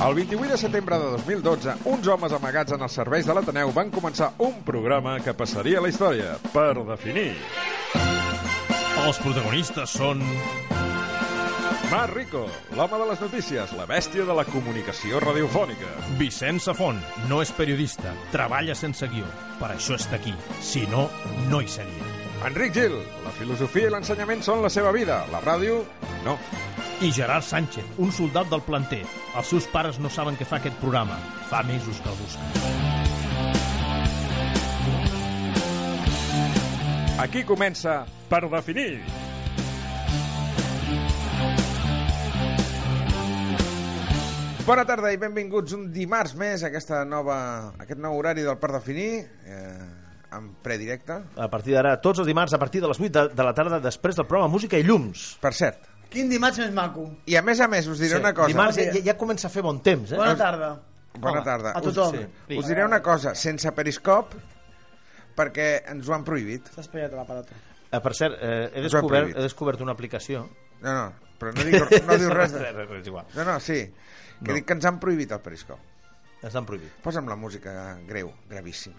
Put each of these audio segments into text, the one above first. El 28 de setembre de 2012, uns homes amagats en els serveis de l'Ateneu van començar un programa que passaria a la història, per definir. Els protagonistes són... Mar Rico, l'home de les notícies, la bèstia de la comunicació radiofònica. Vicenç Safont no és periodista, treballa sense guió. Per això està aquí. Si no, no hi seria. Enric Gil, la filosofia i l'ensenyament són la seva vida, la ràdio, no. I Gerard Sánchez, un soldat del planter. Els seus pares no saben què fa aquest programa. Fa mesos que el busquen. Aquí comença Per definir. Bona tarda i benvinguts un dimarts més a aquesta nova, aquest nou horari del Per definir, eh, en predirecte. a partir d'ara, tots els dimarts, a partir de les 8 de, de la tarda, després del programa Música i Llums. Per cert, Quin dimarts més maco. i a més a més us diré sí, una cosa. Dimarts ja, ja, ja comença a fer bon temps, eh? Bona tarda. Bona Home, tarda. a tothom. Us, Sí. us diré una cosa, sense periscop, perquè ens ho han prohibit. S'ha espatllat la pelota. Eh, per cert, eh, he, Us ho ha descobert, prohibit. he descobert una aplicació. No, no, però no, dic, no diu res. De... res, és igual. No, no, sí. Que No. dic que ens han prohibit el periscop. Ens l'han prohibit. Posa'm la música greu, gravíssima.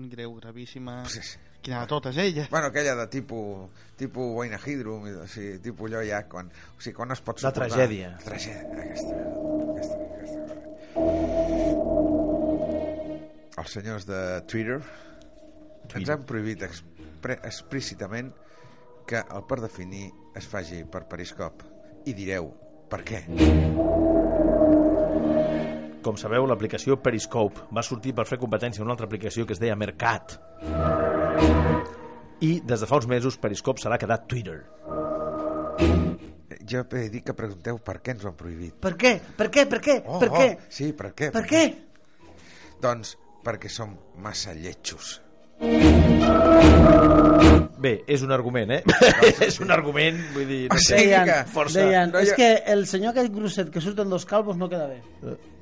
greu, gravíssima. Sí, sí. Quina de totes, eh, ella. Bueno, aquella de tipus, tipus Boina Hydrum, o sigui, tipus allò ja, quan, o sigui, quan es pot La suportar. tragèdia. La tragèdia, aquesta, aquesta, aquesta. Els senyors de Twitter, ens han prohibit expre, explícitament que el per definir es faci per periscop. I direu, per què? Com sabeu, l'aplicació Periscope va sortir per fer competència a una altra aplicació que es deia Mercat. I des de fa uns mesos Periscope serà quedat Twitter. Jo he dit que pregunteu per què ens ho han prohibit. Per què? Per què? Per què? per què? Oh, sí, per què? Per què? Doncs perquè som massa lletjos. Bé, és un argument, eh? és un argument, vull dir... O No sé. sigui Deien, que... força. deien No, és jo- que el senyor aquest grosset que surten dos calvos no queda bé.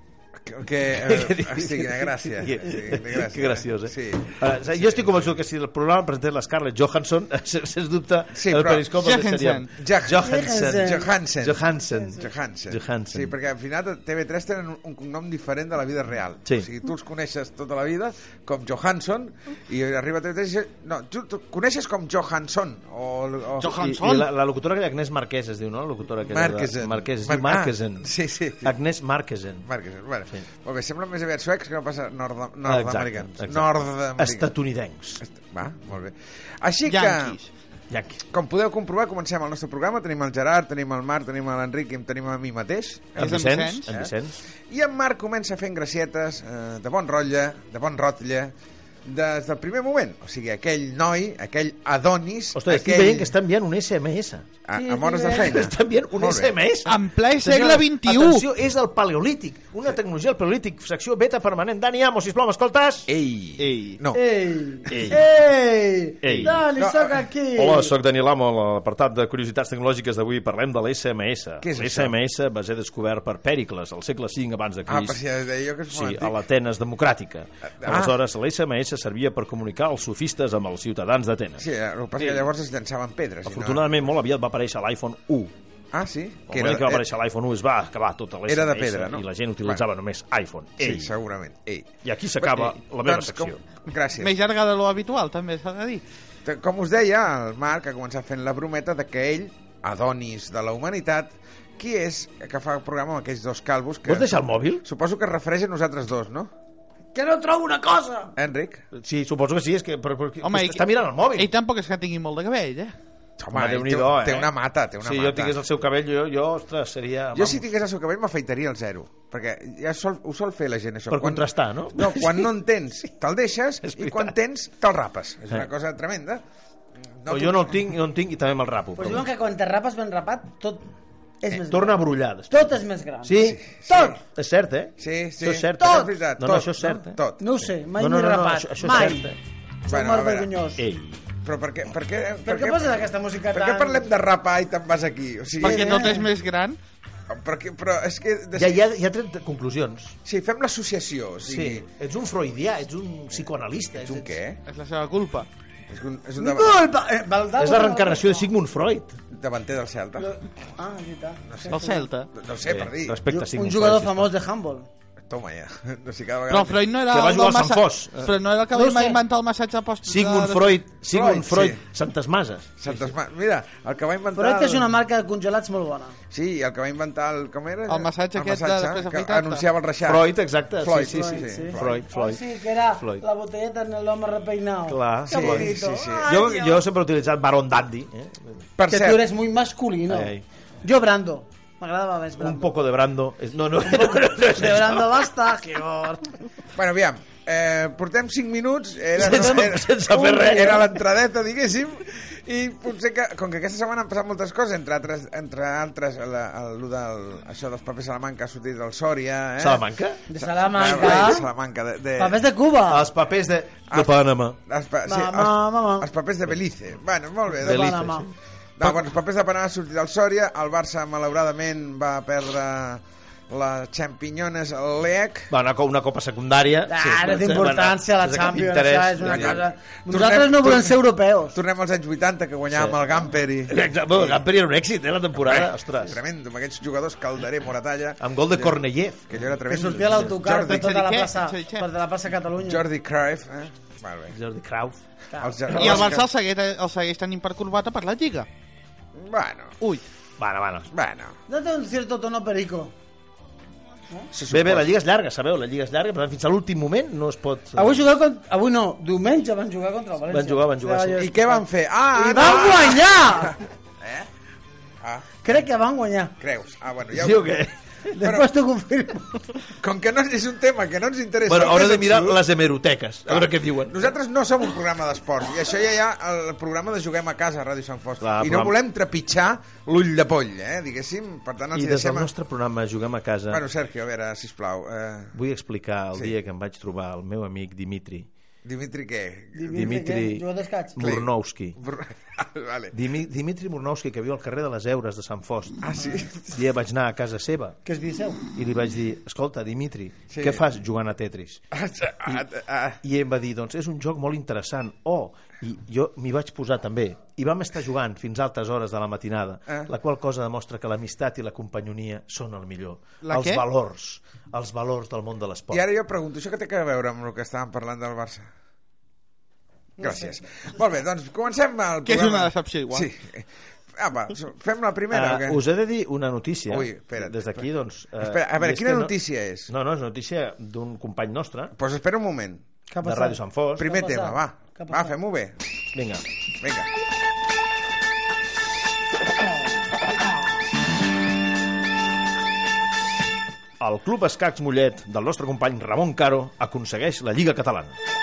Que, que eh, hosti, quina gràcia. Que, Sí, quina gràcia. que graciós, eh? Sí. Ara, jo estic convençut que si el programa el presentés la Scarlett Johansson, sens sens dubte, Sí, el però- periscop el Johansson. deixaríem. Ja- Johansson. Johansen. Johansen. Johansen. Johansen. Sí, perquè al final TV3 tenen un- un cognom diferent de la vida real. Sí. O sigui, tu els coneixes tota la vida com Johansson i arriba a TV3 i... dius, No, tu, tu coneixes com Johansson o... o... I, Johansson. i la, la locutora aquella, Agnès Marquès es diu, no? La locutora aquella de- Marquesen. Marquès. Es Mar- diu Marquesen. Ah, sí, sí. Agnès Marquesen. Marquez, bueno. Sí. Sí. Molt bé, sembla més aviat suecs que no passa nord nord-americans. Exacte, exacte. Nord-americans. Estatunidencs. Va, molt bé. Així que... Yankees. Yanqui. Com podeu comprovar, comencem el nostre programa. Tenim el Gerard, tenim el Marc, tenim l'Enric i em tenim a mi mateix. En És en Vicenç. Vicenç, En eh? Vicenç. I en Marc comença fent gracietes eh, de bon rotlle, de bon rotlle, des del primer moment. O sigui, aquell noi, aquell Adonis... Ostres, estic aquell... veient que està enviant un SMS. A, amb hores de feina. Està enviant un Molt bé. SMS. En ple Senyora, segle XXI. Atenció, és el paleolític. Una tecnologia, el paleolític, secció beta permanent. Dani Amo, sisplau, m'escoltes? Ei. Ei. No. Ei! Ei. Ei! Ei. Dani, No, sóc eh, aquí! Hola, sóc Daniel Amo. A l'apartat de curiositats tecnològiques d'avui parlem de l'SMS. Què és això? L'SMS va ser descobert per Pèricles al segle V abans de Ah, Crist. però si ja deia jo que és molt Sí, a antic. l'Atenes democràtica. Ah. Aleshores, l'SMS servia per comunicar els sofistes amb els ciutadans d'Atenes. Sí, el que passa és que llavors es llançaven pedres. i no- Afortunadament, molt aviat va aparèixer l'iPhone 1. Ah, sí? El moment que va aparèixer l'iPhone 1 es va acabar tota l'SMS Era de pedra, no? i la gent utilitzava només iPhone. Sí, Ei. segurament. Ei. I aquí s'acaba Ei, la meva doncs, secció. Com... Gràcies. Més llarga de lo habitual, també s'ha de dir. Te- Com us deia, el Marc ha començat fent la brometa de que ell, Adonis de la humanitat, qui és que fa el programa amb aquells dos calvos que... Vols deixar el mòbil? Suposo que es refereix a nosaltres dos, no? Que no trobo una cosa! Enric? Sí, suposo que sí, és que, però, però, Home, està mirant el mòbil. Ell tampoc és que tingui molt de cabell, eh? Home, ell té, Déu-n'hi-do, eh? té una mata, té una si mata. jo tingués el seu cabell, jo, jo ostres, seria... Jo si tingués el seu cabell m'afeitaria el zero, perquè ja sol, ho sol fer la gent, això. Per contrastar, no? No, quan no en tens, te'l deixes, És i quan veritat. tens, te'l rapes. És una Eh. cosa tremenda. no, jo no el tinc, no en tinc i també me'l rapo. Pues però- diuen que quan te rapes ben rapat, tot És més Eh, Torna a gran. brullar després. Tot és més gran. Sí, Tot! és cert, eh? Sí, sí. Això és cert. Tot! És veritat, No, no, tot, això és cert, eh? Tot. No ho sé, mai No, no, m'he no, no, rapat. això- això és mai. cert, eh? Soc Bueno, a molt veure. vergonyós. Ei, Però per què... Per què, Per què poses aquesta música Per tan... què parlem de rapar i te'n vas aquí? O sigui, Perquè tot és més gran. Per què, però és que... De... ja, ja, ja tret conclusions. Sí, fem l'associació. O Sí. sigui, Ets un freudià, ets un psicoanalista. Ets un què? És la seva culpa. És un, és un dava- Culpa! Eh, Valdau- És la reencarnació de Sigmund Freud. davanter del Celta. Ah, és veritat. El Celta. No sé, per dir. Respecte a Un Sigmund jugador Freud. famós de handball. Toma ja. No sé, cada vegada... Però Freud no era Que va el jugar del al Sant massa- Fos. Però no era el que No va ho sé. inventar el massatge post... Sigmund de- Freud, Sigmund Freud, Freud, sí. Santes Mases. Santes Ma... Mira, el que va inventar... Però és el- una marca de congelats molt bona. Sí, el que va inventar el... Com era? El massatge aquest de després que afeitar-te. anunciava el reixat. Freud, exacte. Freud, sí, sí, Freud, sí. sí. Freud, Freud. Ah, sí, que era Floyd. la botelleta en l'home repeinado. Clar. Que Sí, bonito. Ah. sí, sí. Ay, Jo, Dios. jo sempre he utilitzat Baron Dandy. Eh? Per Que tú cert, eres muy masculino. Ai, ai. Yo Brando. M'agradava més Brando. Un poco de Brando. És- No, no, no, no, no, De Brando basta, Gibor. bueno, aviam, eh, portem 5 minuts, era, Sense- sense fer res. era l'entradeta, diguéssim, i potser que, com que aquesta setmana han passat moltes coses, entre altres, entre altres la, el, lo del, això dels papers Salamanca ha sortit del Sòria, eh? Salamanca? De Ah, de Salamanca. Salamanca, de... de... Papers de Cuba. Els papers de... Ah. Panamà. Els, pa... sí, Mamà, els, mamà. els papers de Belize. Bueno, molt bé. De doncs. Belize, Panamà. No, bueno, els papers de Panamà han sortit del Sòria, el Barça malauradament va perdre les xampinyones al LEC. Va, una, co- una copa secundària. Ah, no té bueno, importància la sense cap Champions, interès. això és una Ja, ja. cosa... Tornem- Nosaltres no volem tornem- ser europeus. Tornem als anys 80, que guanyàvem Sí. el Gamper i... Exacte, bueno, el Gamper era un èxit, eh, la temporada, ostres. Tremendo, amb aquests jugadors Calderé, Moratalla... Amb gol de Cornellef. Que jo era Que tremendo. sortia l'autocar per Jordi, tota la Xeriquet, plaça, Xeriquet. per de la plaça Catalunya. Jordi Cruyff, eh? Molt bé. Jordi Krauf. Els I el germans Barça el que- segueix, el segueix tenint per corbata per la Lliga. Bueno, Ui, Bueno, bueno. bueno. No té un cierto tono perico. se Bé, bé, suposa. la Lliga és llarga, sabeu, la Lliga és llarga, per tant, fins a l'últim moment no es pot... Avui jugueu contra... Avui no, diumenge van jugar contra el València. Van jugar, van jugar, Estava sí. jo- I què van fer? Ah, I van guanyar! Ah, Crec que van guanyar. creus. Ah, bueno, ja... Sí o què? Després t'ho confirmo. Com que no és un tema que no ens interessa... Bueno, en hauré més de mirar absolut, les hemeroteques, a veure què diuen. Nosaltres no som un programa d'esports, i això ja hi ha el programa de Juguem a Casa, a Ràdio Sant Fost. Clar, I no programa- volem trepitjar l'ull de poll, eh, diguéssim. Per tant, els I hi des deixem... del a- nostre programa Juguem a casa Bueno, Sergio, a veure, sisplau. Eh, vull explicar el Sí. dia que em vaig trobar el meu amic Dimitri Dimitri, què? Dimitri eh, Jugador d'escaig. Murnowski. vale. Dimi Dimitri Murnowski, que viu al carrer de les Eures de Sant Fost. Ah, sí? Un dia vaig anar a casa seva Que es disseu. i li vaig dir, escolta, Dimitri, Sí. què fas jugant a Tetris? Ah, ah, ah, I em va dir, doncs, és un joc molt interessant. Oh, i jo m'hi vaig posar també. I vam estar jugant fins a altes hores de la matinada, Ah. la qual cosa demostra que l'amistat i la companyonia són el millor. La els què? valors, els valors del món de l'esport. I ara jo pregunto, això que té que veure amb el que estàvem parlant del Barça? Gràcies. Molt bé, doncs comencem el programa. Que és una decepció igual. Sí. Apa, so- fem la primera o Uh, què? us he de dir una notícia. Ui, espera't, Des d'aquí, doncs... eh, Espera, a i veure, és quina que notícia és? No, no, és notícia d'un company nostre, Pues espera un moment. Què ha de passat? Ràdio Sant Fos. Primer passat? tema, va. Què ha Va, passat? fem-ho bé. Vinga. Vinga. El Club Escacs Mollet del nostre company Ramon Caro aconsegueix la Lliga Catalana.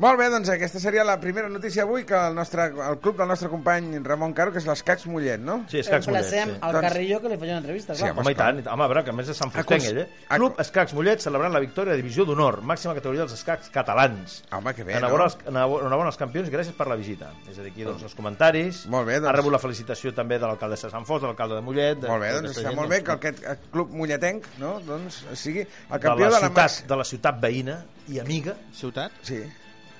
Molt bé, doncs aquesta seria la primera notícia avui que el, nostre, el club del nostre company Ramon Caro, que és l'Escacs Mollet, no? Sí, Escacs Mollet. Emplacem Sí. al Doncs- Carrillo que li faig una entrevista. Sí, clar. home. Home, i tant, i tant. home, a veure, que a més és Sant Fustenc, Acons- ell, eh? Acon- Club Escacs Mollet celebrant la victòria de divisió d'honor, màxima categoria dels escacs catalans. Home, que bé, Enhorabona no? als- enhorabona enhorabona als campions i gràcies per la visita. És a dir, aquí, doncs, els comentaris. Molt bé, doncs. Ha rebut la felicitació també de l'alcaldessa de Sant Fos, de l'alcalde de Mollet... De, Molt bé, doncs d'aquesta està gent, molt bé que aquest club molletenc no? doncs, sigui el de campió la, de la, ciutat, màxima- de la ciutat veïna i amiga ciutat? Sí.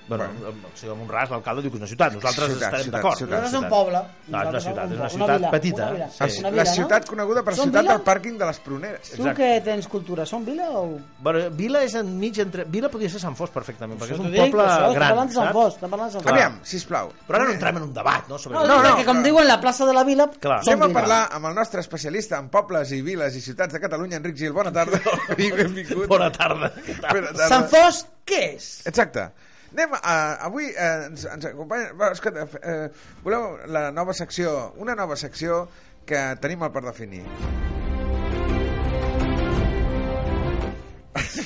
bueno, bueno. o sigui, amb un ras l'alcalde diu que és una ciutat nosaltres Ciutat, estarem ciutat, d'acord ciutat. Nosaltres som Ciutat. poble. no, és una Nosaltres som ciutat, és poble. una ciutat vila, petita Una sí. La, vila. És una la vila, no? ciutat coneguda per Som ciutat vila? del pàrquing de les Pruneres. Tu que tens cultura, són vila o...? Bueno, Vila és enmig entre... Vila podria ser Sant Fos perfectament, perquè és T'ho un dic, poble això, estem gran, parlant de Sant Fos, saps? estem parlant de Sant Fos. Aviam, sisplau. Però ara no entrem en un debat, no? Sobre... No, No, no, no, perquè com clar. diuen la plaça de la vila, Clar. som Anem a vila. parlar amb el nostre especialista en pobles i viles i ciutats de Catalunya, Enric Gil. Bona tarda i benvingut. Bona tarda. Bona tarda. Sant Fos, què és? Exacte. Anem a... Avui eh, ens, ens acompanya... Va, escolta, f- eh, voleu la nova secció, una nova secció que tenim al per definir.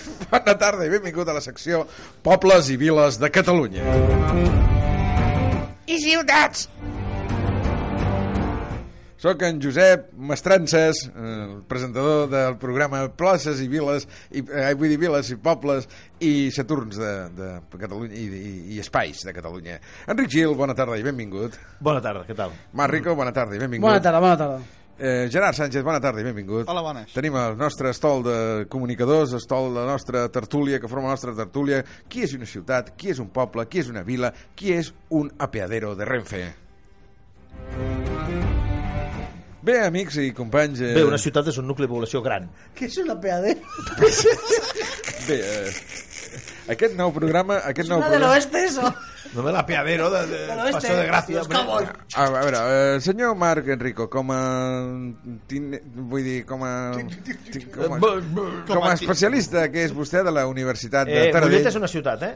Bona tarda i benvingut a la secció Pobles i Viles de Catalunya. I ciutats! Soc en Josep Mestrances, eh, el presentador del programa Places i Viles, i, eh, vull dir Viles i Pobles i Saturns de, de Catalunya i, i, i Espais de Catalunya. Enric Gil, bona tarda i benvingut. Bona tarda, què tal? Marc Rico, bona tarda i benvingut. Bona tarda, bona tarda. Eh, Gerard Sánchez, bona tarda i benvingut. Hola, bones. Tenim el nostre estol de comunicadors, estol de la nostra tertúlia, que forma la nostra tertúlia. Qui és una ciutat, qui és un poble, qui és una vila, qui és un apeadero de Renfe. Bé, amics i companys... Eh, Bé, una ciutat és un nucli de població gran. Què és una PAD? Bé, eh, aquest nou programa... Aquest nou Una del programa... oeste, eso. No me la piadero de, de, Del oeste. Paseo de Gracia. Los cowboys. A veure, eh, senyor Marc Enrico, com a... tin- Vull dir, com a... Eh, Com a, com a especialista que és vostè de la Universitat de Eh, Mollet Taradell... és una ciutat, eh?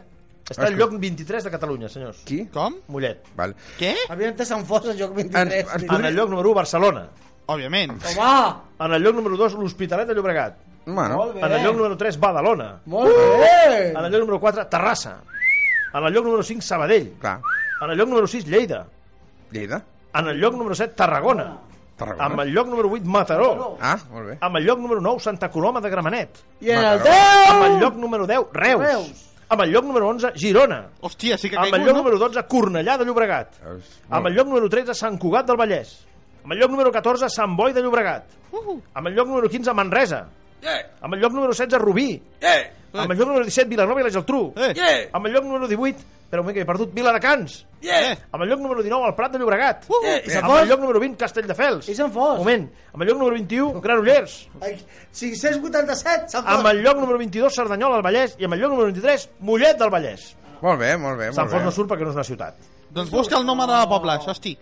Està al Escolta. lloc 23 de Catalunya, senyors. Qui? Com? Mollet. Val. Què? Havia entès Sant Fos al joc Ens- 23. ens tio. En el lloc número 1, Barcelona. Òbviament. Home, En el lloc número 2, l'Hospitalet de Llobregat. Bueno, molt bé. En Eh. el lloc número 3, Badalona. Molt bé. En el lloc número 4, Terrassa. En el lloc número 5, Sabadell. clar, En el lloc número 6, Lleida. Lleida, En el lloc número 7, Tarragona. Tarragona. Amb el lloc número 8, Mataró. Ah, molt bé. Amb el lloc número 9, Santa Coloma de Gramenet. I en el Mataró. Amb el 10! lloc número 10, Reus. Reus. Amb el lloc número 11, Girona. Hòstia, sí que ha Amb el caigut, lloc no? número 12, Cornellà de Llobregat. Veus? Amb el lloc número 13, Sant Cugat del Vallès. Amb el lloc número 14, Sant Boi de Llobregat. Amb el lloc número 15, Manresa. Amb el lloc número 16, Rubí. Amb el lloc número 17, Vilanova i la Geltrú. Eh, eh, Amb el lloc número 18, però un moment que he perdut, Viladecans. eh. Amb el lloc número 19, el Prat de Llobregat. Uh. Eh, I Sant Amb el Fos? lloc número 20, Castelldefels. I Sant Fos? Moment. Amb el lloc número 21, Granollers. Ai, 587, Sant Fos. Amb el lloc número 22, Cerdanyola del Vallès. I amb el lloc número 23, Mollet del Vallès. Molt bé, molt bé, Sant Ah, molt Fos no bé. surt perquè no és una ciutat. Doncs busca el nom de la pobla, això hosti.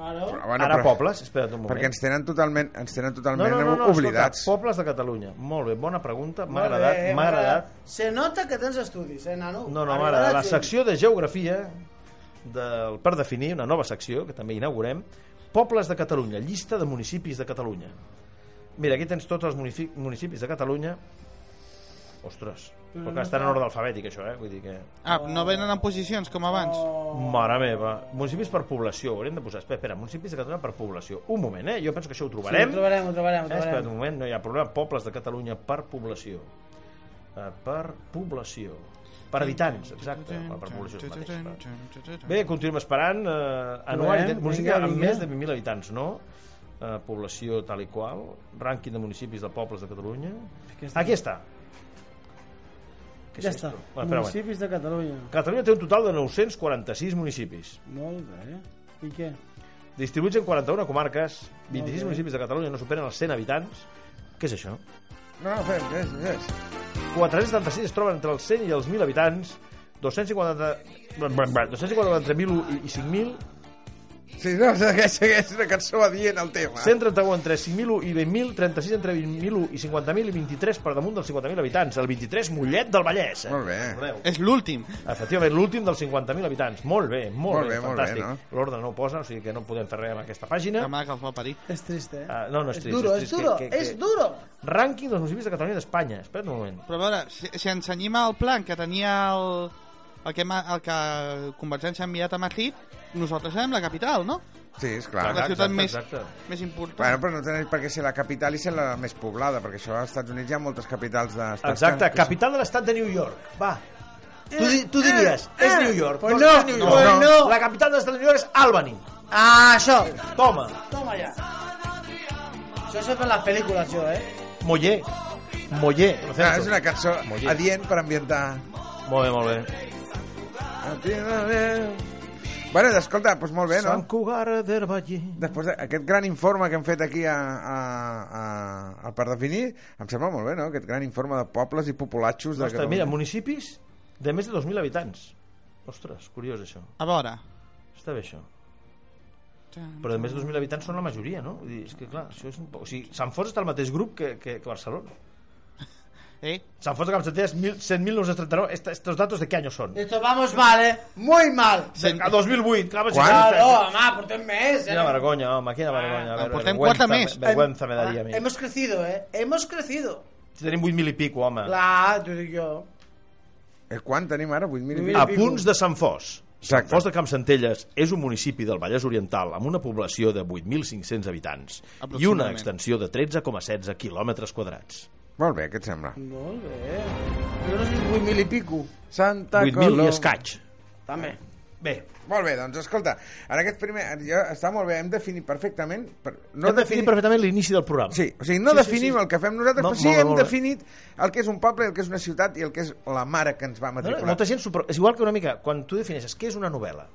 Claro. Però, Ah, bueno, Ara però- pobles, espera't un moment. Perquè ens tenen totalment, ens tenen No, totalment no, no, no, oblidats. Escolta, pobles de Catalunya. Molt bé, bona pregunta. M'ha Molt bé, agradat, m'ha agradat. Se nota que tens estudis, eh, nano? No, no, Arribarà m'ha agradat. La gent. secció de geografia del per definir una nova secció que també inaugurem, Pobles de Catalunya, llista de municipis de Catalunya. Mira, aquí tens tots els munifi- municipis de Catalunya. Ostres, però que estan en ordre alfabètic, això, eh? Vull dir que... Ah, no venen en posicions com abans. Oh. Oh. Mare meva, municipis per població, hauríem de posar... Espera, espera, municipis de Catalunya per població. Un moment, eh? Jo penso que això ho Sí, ho trobarem. trobarem, ho trobarem, ho Eh, espera't un trobarem. moment, no hi ha problema. Pobles de Catalunya per població. Eh, per població. Per habitants, exacte. Per, per població és el mateix. Per... Bé, continuem esperant. Eh, anuari, Bé, de municipi vinga, amb vinga. més de 20.000 habitants, no? Eh, població tal i qual. Rànquing de municipis de pobles de Catalunya. Aquí està. Què és Ja esto? està. Bueno, espera, bueno. Municipis de Catalunya. Catalunya té un total de 946 municipis, Molt bé. I què? distribuïts en 41 comarques, 26 bé. municipis de Catalunya no superen els 100 habitants. Què és això? No, no, fem, és, és. 476 es troben entre els 100 i els 1.000 habitants, 250... 254.000 i 5.000, Sí, no, segueix, segueix una cançó adient al tema. 131 entre 5.000 i 20.000, 36 entre 20.000 i 50.000 i 23 per damunt dels 50.000 habitants. El 23, Mollet del Vallès. Eh? Molt bé. Recordeu. És l'últim. Efectivament, l'últim dels 50.000 habitants. Molt bé, molt, Molt bé, molt bé, fantàstic. no? L'ordre no ho posa, o sigui que no podem fer res amb aquesta pàgina. La mare que els va parir. És trist, eh? Ah, no, no és és trist, duro, és és trist duro, que- que- és que- duro. Rànquing dels municipis de Catalunya i d'Espanya. Espera't un moment. Però a veure, si, si ens cenyim al plan que tenia el, el, que, ma- el que Convergència ha enviat a Madrid, nosaltres serem la capital, no? Sí, és La clar. Clar, ciutat exacte, més, exacte. més important. Bueno, però no tenen per què ser la capital i ser la més poblada, perquè això als Estats Units hi ha moltes capitals d'estats... Exacte, que- que són- capital de l'estat de New York. Va. Tu, di- tu diries, és New York. Eh, Pues doncs no, és New pues York. no. La capital de l'estat de New York és Albany. Ah, això. Toma, Toma ja. Això és per les pel·lícules, això, eh? Moller. Moller, lo Ah, cento. és una cançó Molt bé. adient per ambientar... Molt bé, molt bé. Bueno, escolta, doncs molt bé, no? Sant Cugat del Vallès. Després d'aquest gran informe que hem fet aquí a, a, a, a per definir, em sembla molt bé, no? Aquest gran informe de pobles i populatxos de Ostres, mira, municipis de més de 2.000 habitants. Ostres, curiós això. A veure... Està bé això. Però de més de 2.000 habitants són la majoria, no? Vull dir, és que clar, això és un poc... O sigui, Sant Fons està al mateix grup que, que, que Barcelona. Eh? San Fons de Capçateres, 100.939. Esta- Estos datos de qué año son? Esto vamos mal, eh? Muy mal. A 2008. Claro, Quan? Claro, home, portem més, eh? Quina vergonya, home, quina vergonya. A veure, portem vergüenza, quatre més. Ah, Vergüenza me daria a mi. Hemos crecido, eh? Hemos crecido. Si tenim 8.000 i pico, home. Clar, t'ho dic jo. Eh, Quan tenim ara? 8.000 i A pico? Ah, punts de Sant Fos. Exacte. Sant Fos de Campsentelles és un municipi del Vallès Oriental amb una població de 8.500 habitants i una Aproximadament. extensió de 13,16 quilòmetres quadrats. Molt bé, què et sembla? Molt bé. Jo no sé si 8.000 i pico. Santa 8.000 Coloma. i escaig. També. Bé, Molt bé, doncs escolta, en aquest primer... Ja està molt bé, hem definit perfectament... Per, no hem definit perfectament l'inici del programa. Sí, o sigui, no sí, definim sí, sí. el que fem nosaltres, No, no, però sí molt bé, hem molt bé. definit el que és un poble, el que és una ciutat i el que és la mare que ens va No, no, matricular. molta gent s'ho... pro- És igual que una mica, quan tu defineixes què és una novel·la.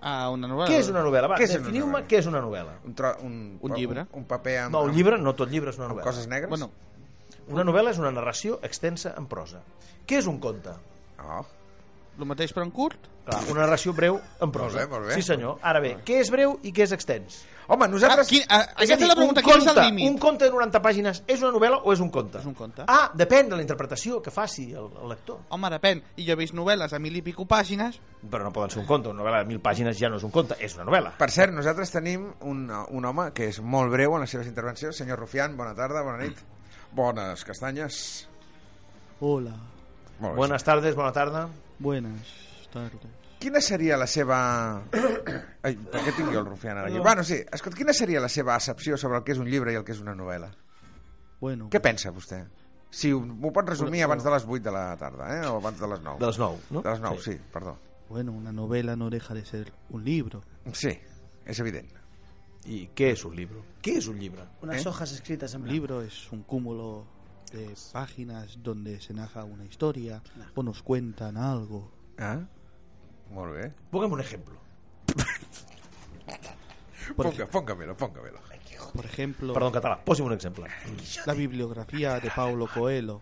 Ah, una novel·la. Què és una novel·la? Va, Què és una definiu-me novel·la? què és una novel·la. un, tro, un, Un llibre. Un, un paper amb, No, un llibre, no eh, tot llibre és una amb novel·la. coses negres. Bueno, Una novel·la és una narració extensa en prosa. Què és un conte? Oh. el mateix però en curt. Clar, una narració breu en prosa. Molt bé, molt bé. Sí, senyor. Ara bé, què és breu i què és extens? Home, nosaltres... Ah, quin- ah, És aquesta a és la pregunta, un quin és el conte, límit? Un conte de 90 pàgines és una novel·la o és un conte? És un conte. Ah, depèn de la interpretació que faci el, el lector. Home, depèn. I jo he vist novel·les a mil i pico pàgines. Però no poden ser un conte. Una novel·la de 1.000 pàgines ja no és un conte, és una novel·la. Per cert, nosaltres tenim un, un home que és molt breu en les seves intervencions. Senyor Rufián, bona tarda, bona nit. Bones castanyes. Hola, Molt bé. Buenas tardes, bona tarda. buenas tardes. Quina seria la seva... Ai, per què tinc jo el Rufián ara aquí? Bueno, sí, escolta, quina seria la seva accepció sobre el que és un llibre i el que és una novel·la? Bueno, Què pensa vostè? Si ho- m'ho pot resumir abans de les 8 de la tarda, eh? o abans de les 9. De les 9, no? De les 9, sí, perdó. bueno, una novela no deja de ser un libro. Sí, és evident. I què és un llibre? Què és un llibre? Unes Eh? hojas escrites en Un blanc. libro es un cúmulo de páginas donde se narra una historia o nos cuentan algo. Ah? Molt bé. Póngame un ejemplo. Por, Ponga, póngamelo, póngamelo. ej- por ejemplo, Perdó, en català. Posi'm un exemple. la bibliografía de Paulo Coelho.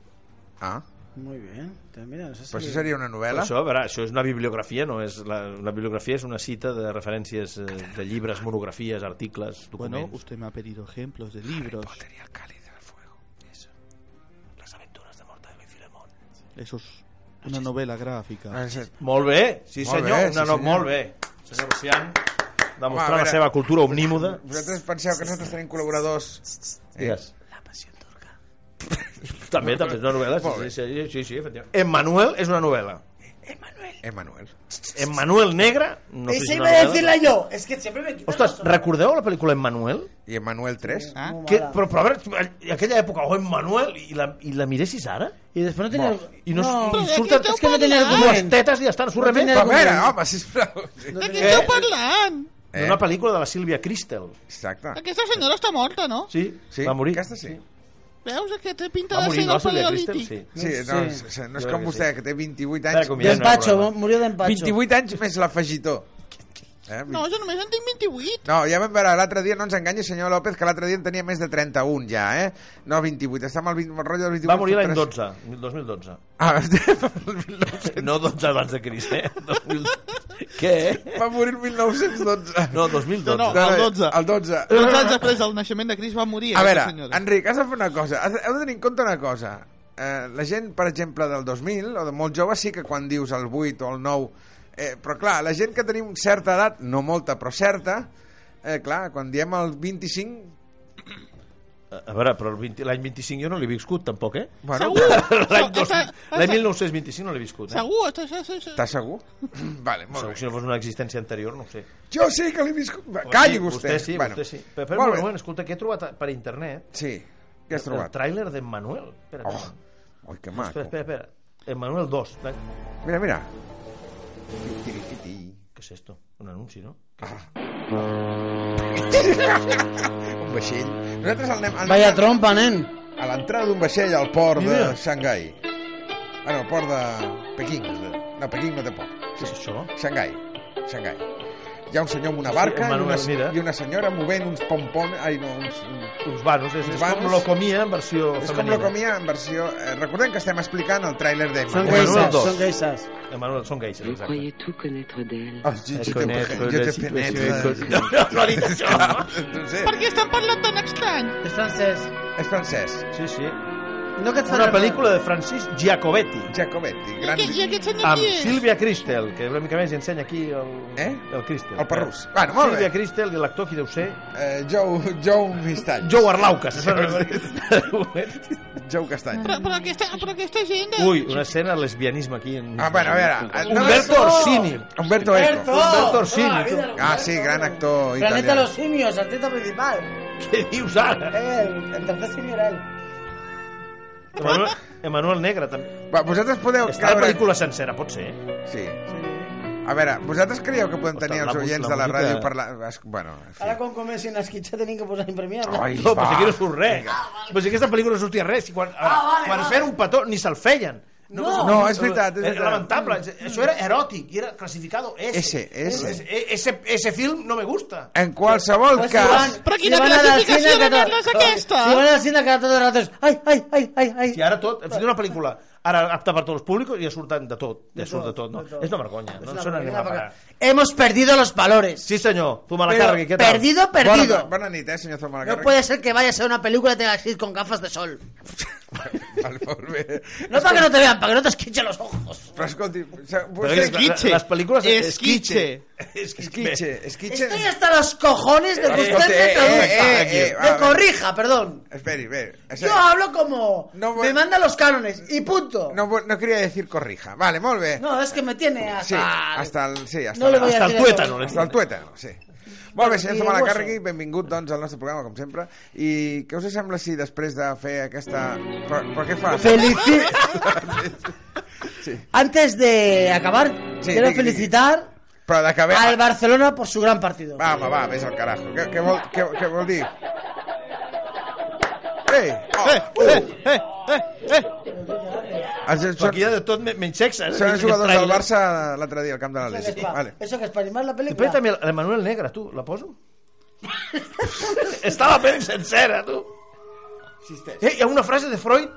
Ah? Muy bien. Te- Mira, no sé si... Però això seria una novel·la? Però això, a veure, això és una bibliografia, no és la, una bibliografia és una cita de referències eh, de llibres, monografies, articles, Bueno, documents. usted me ha pedido ejemplos de libros. Seria el càlid del fuego. les aventures de Mortadelo i Filemón. Eso es una novela gráfica. Ah, sí. Molt bé, sí Molt senyor, bé, una, sí, no, senyor. molt bé. Senyor Lucian, Home, a demostrant veure. la seva cultura omnímoda. Vosaltres penseu que nosaltres tenim col·laboradors... Digues. La passió turca. també, també és una novel·la, Molt bé. sí, sí, sí, sí, sí efectivament. Emmanuel és una novel·la. Emanuel. Emmanuel Negre, no sé si Esa és iba una a novel·la. decirla yo. Es que siempre me quitan Ostres, los hombres. recordeu la pel·lícula Emmanuel? I Emanuel 3? Ah, Muy Que, mala. però, però a veure, aquella època, oh, Emmanuel, i la, i la miressis ara? Y después no tenía... I no, No. i surten És que no tenia dues argument. tetes i ja està, no surt res més. A veure, home, sisplau. Sí. No tenia- Eh, parlant? Eh? Una pel·lícula de la Sílvia Cristel. Exacte. Aquesta senyora està morta, no? Sí, Sí, va morir. Aquesta sí. Veus que té pinta Va morir, no? Sílvia Cristel, sí. Sí, no, és- és- no és Jo crec com que vostè, sí. que té 28 Ara anys. com ja no. Despacho, programa. murió de empacho. 28 anys més l'afegitor. Eh? vint- jo només en tinc 28. No, ja vam veure l'altre dia, no ens enganyi, senyor López, que l'altre dia en tenia més de 31 ja, eh? No, 28, està amb el, 20, amb el rotllo del 28. Va morir l'any tres. 12, 2012. Ah, el 1900. No 12 abans de Crist, eh? 2012. Què? va morir el 1912. No, 2012. No, no. el 12. El 12. Dos anys després del naixement de Cris va morir. ¿eh, A veure, aquesta senyora. Enric, has de fer una cosa. Has de, heu de tenir en compte una cosa. Eh, la gent, per exemple, del 2000, o de molt jove, sí que quan dius el 8 o el 9... Eh, però clar, la gent que tenim certa edat, no molta, però certa, eh, clar, quan diem el 25... A veure, però el 20 l'any 25 jo no l'he viscut, tampoc, eh? Bueno, L'any No, dos- està- l'any està- 1925 no l'he viscut, eh? Segur, això, això, això. Estàs segur? vale, molt Segur, bé. si no fos una existència anterior, no ho sé. Jo sí que l'he viscut... Va, Calli vostè. Vostè sí, bueno, vostè sí. Però, però, molt un bé. moment, escolta, que he trobat a- per internet Sí, què has el trobat? tràiler d'en Manuel. Espera, Oh, espera, ui, que maco. espera, espera. En Manuel 2. l'any- Mira, mira. Ti, ti, ti, ti. Què és esto? Un anunci, no? Un vaixell. Nosaltres el anem... el Vaya anem- trompa, nen. a l'entrada d'un vaixell al port de Mira. Xangai. Ah, no, port de Pequín. No, Pequín no té port. Què és això? Xangai. Xangai. Hi ha un senyor amb una barca i Manuel, una, mira. i una senyora movent uns pompons... Ai, no, uns... Uns vanos, és, és Vanos. com l'Ocomia en versió És com femenina. la comia en versió... Eh, recordem que estem explicant el tràiler de... Son Emmanuel geisas, dos. son geisas. Emmanuel, són gais, eh? Vous exacte. croyez tout connaître d'elle. Oh, jo, jo, te, jo te penetro. No, no, no ha dit això. No sé, estan parlant tan estrany? És francès. és francès. Sí, sí. No que et Una farà- pel·lícula de Francis Giacobetti. Giacometti, I, gran... aquest- I aquest senyor Amb qui és? Sílvia Cristel, que una mica més ensenya aquí el, Eh? el Cristel. El perrús. Bueno, molt bé. Sílvia Cristel i l'actor qui deu ser... Eh, Joe, Joe Mistany. Joe Arlau, que se sona... Joe Castany. Però, però, aquesta, però aquesta gent... De... Ui, una escena de lesbianisme aquí. En... Ah, bueno, a veure... eh, no Humberto ves- Orsini. Humberto Eco. Humberto Orsini, Ah, tu. mira, Ah, sí, gran actor Planeta de italià. los simios, artista principal. Què dius ara? Eh, el, el tercer simio era él. Emanuel, Emanuel Negre, també. Va, vosaltres podeu Està la creure... pel·lícula sencera, pot ser. Sí. A veure, vosaltres creieu que podem tenir Ostres, els la oients música- de la la ràdio música- per la... es- Bueno, en fi. Ahora con comercio en las quichas tenían que posar en premiar. ¿no? Ai, No, però va. si aquí no surt res. Però si aquesta pel·lícula no sortia res. Si quan, ara, Ah, vale, quan vale. feien un petó ni se'l feien. No. No, és veritat, Ah, Era és Mm. veritat. lamentable. Això era eròtic i era classificado S. S, S. Ese, ese, ese film no me gusta. En qualsevol Pues si cas... van- Però si quina van anar al classificació cine de cada- merda és aquesta? Si van al cine cada tot el rato és... Ai, ai, ai, ai, ai. I ara tot, hem fet una pel·lícula ara apta per tots els públics i ja surten de tot. Ja surt de tot, no? És una vergonya. Pues No ens n'anem a parar. Hemos perdido los valores. Sí, senyor. Tu me la Pero carregui, què tal? perdido, Bona, perdido. bona nit, eh, senyor Zomalacarri. no puede ser que vayas a una película y te vas a ir con gafas de sol. Vale, molt bé. No para que no te vean, para que no te esquinchen los ojos. Però escolti, se- Però vostè... és que les- Les pel·lícules... Esquitxe. Esquitxe, esquitxe... Estoy hasta los cojones de que Escolti, usted me eh, eh, traduzca. eh, eh, a Me ver. corrija, perdón. Esperi, ve. o sea, Yo hablo como... No voy- Me manda los cánones y punto. no, vo- no quería decir corrija. Vale, molt bé. No, es que me tiene hasta... Sí, hasta el... Sí, hasta, No le la- voy a Hasta el decir eso. tuétano, le Hasta el tuétano, sí. Molt bé, senyor i Zumalacárregui, hueso. benvingut doncs, al nostre programa, com sempre. I què us sembla si després de fer aquesta... Però, però què fas? Felici- Antes de acabar, Sí, Pues, quiero digui, felicitar Però d'acabem... al Barcelona por su gran partido. Va, home, va, vés al carajo. Què, què, vol, què, què vol dir? Ei! Oh, Eh, eh, eh, eh, eh. Els, Però són, aquí hi ha de tot me- menys sexe. eh? són els jugadors Trailer. del Barça l'altre dia al camp de Eso que l'Atlètic. es pa- Vale. Eso que es para animar la Després película. també l'Emanuel Negre, tu, la poso? Està la pel·li sencera, tu. Eh, hi ha una frase de Freud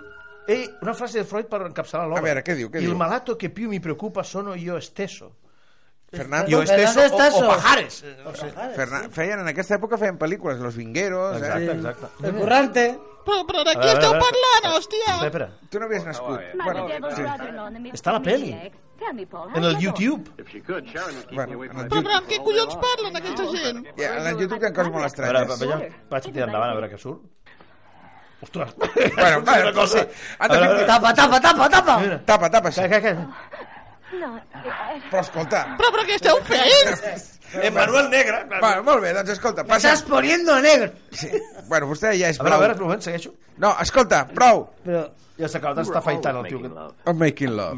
eh, una frase de Freud per encapçalar l'obra. A veure, què diu, què Il diu?" malato que più mi preocupa sono io esteso. Fernando, Yo Però esteso ¿dónde Pues, o, estás, o o? pajares. eh, No sé. Pajares, Fernan, feien, en aquesta època feien pel·lícules, Los Vingueros... Exacte, Eh? exacte. El currante. Però, però de A qui veure, a esteu veure. parlant, Espera, hòstia? espera. Tu no havies nascut. Bueno, sí. Està la peli. En el YouTube. Bueno, en el Però, YouTube, però amb què collons parlen aquesta gent? ja, en el YouTube hi ha coses A veure, molt estranyes. veja, vaig tirar endavant a veure què surt. Ostres. Ah, Bueno, Surt vale, una cosa. sí. Ha de A veure, fer- Tapa, tapa, tapa, tapa. Tapa, tapa, sí. Calla, calla, calla. Però escolta... Però, però què esteu fent? Eh, Emmanuel Negre. clar. Bueno, molt bé, doncs escolta, Me passa... estás poniendo negro. Sí. Bueno, vostè ja és A veure, a prou. veure, un moment, segueixo. No, escolta, prou. Pero Ja s'acaba, està afaitant el tio. que- I'm making love.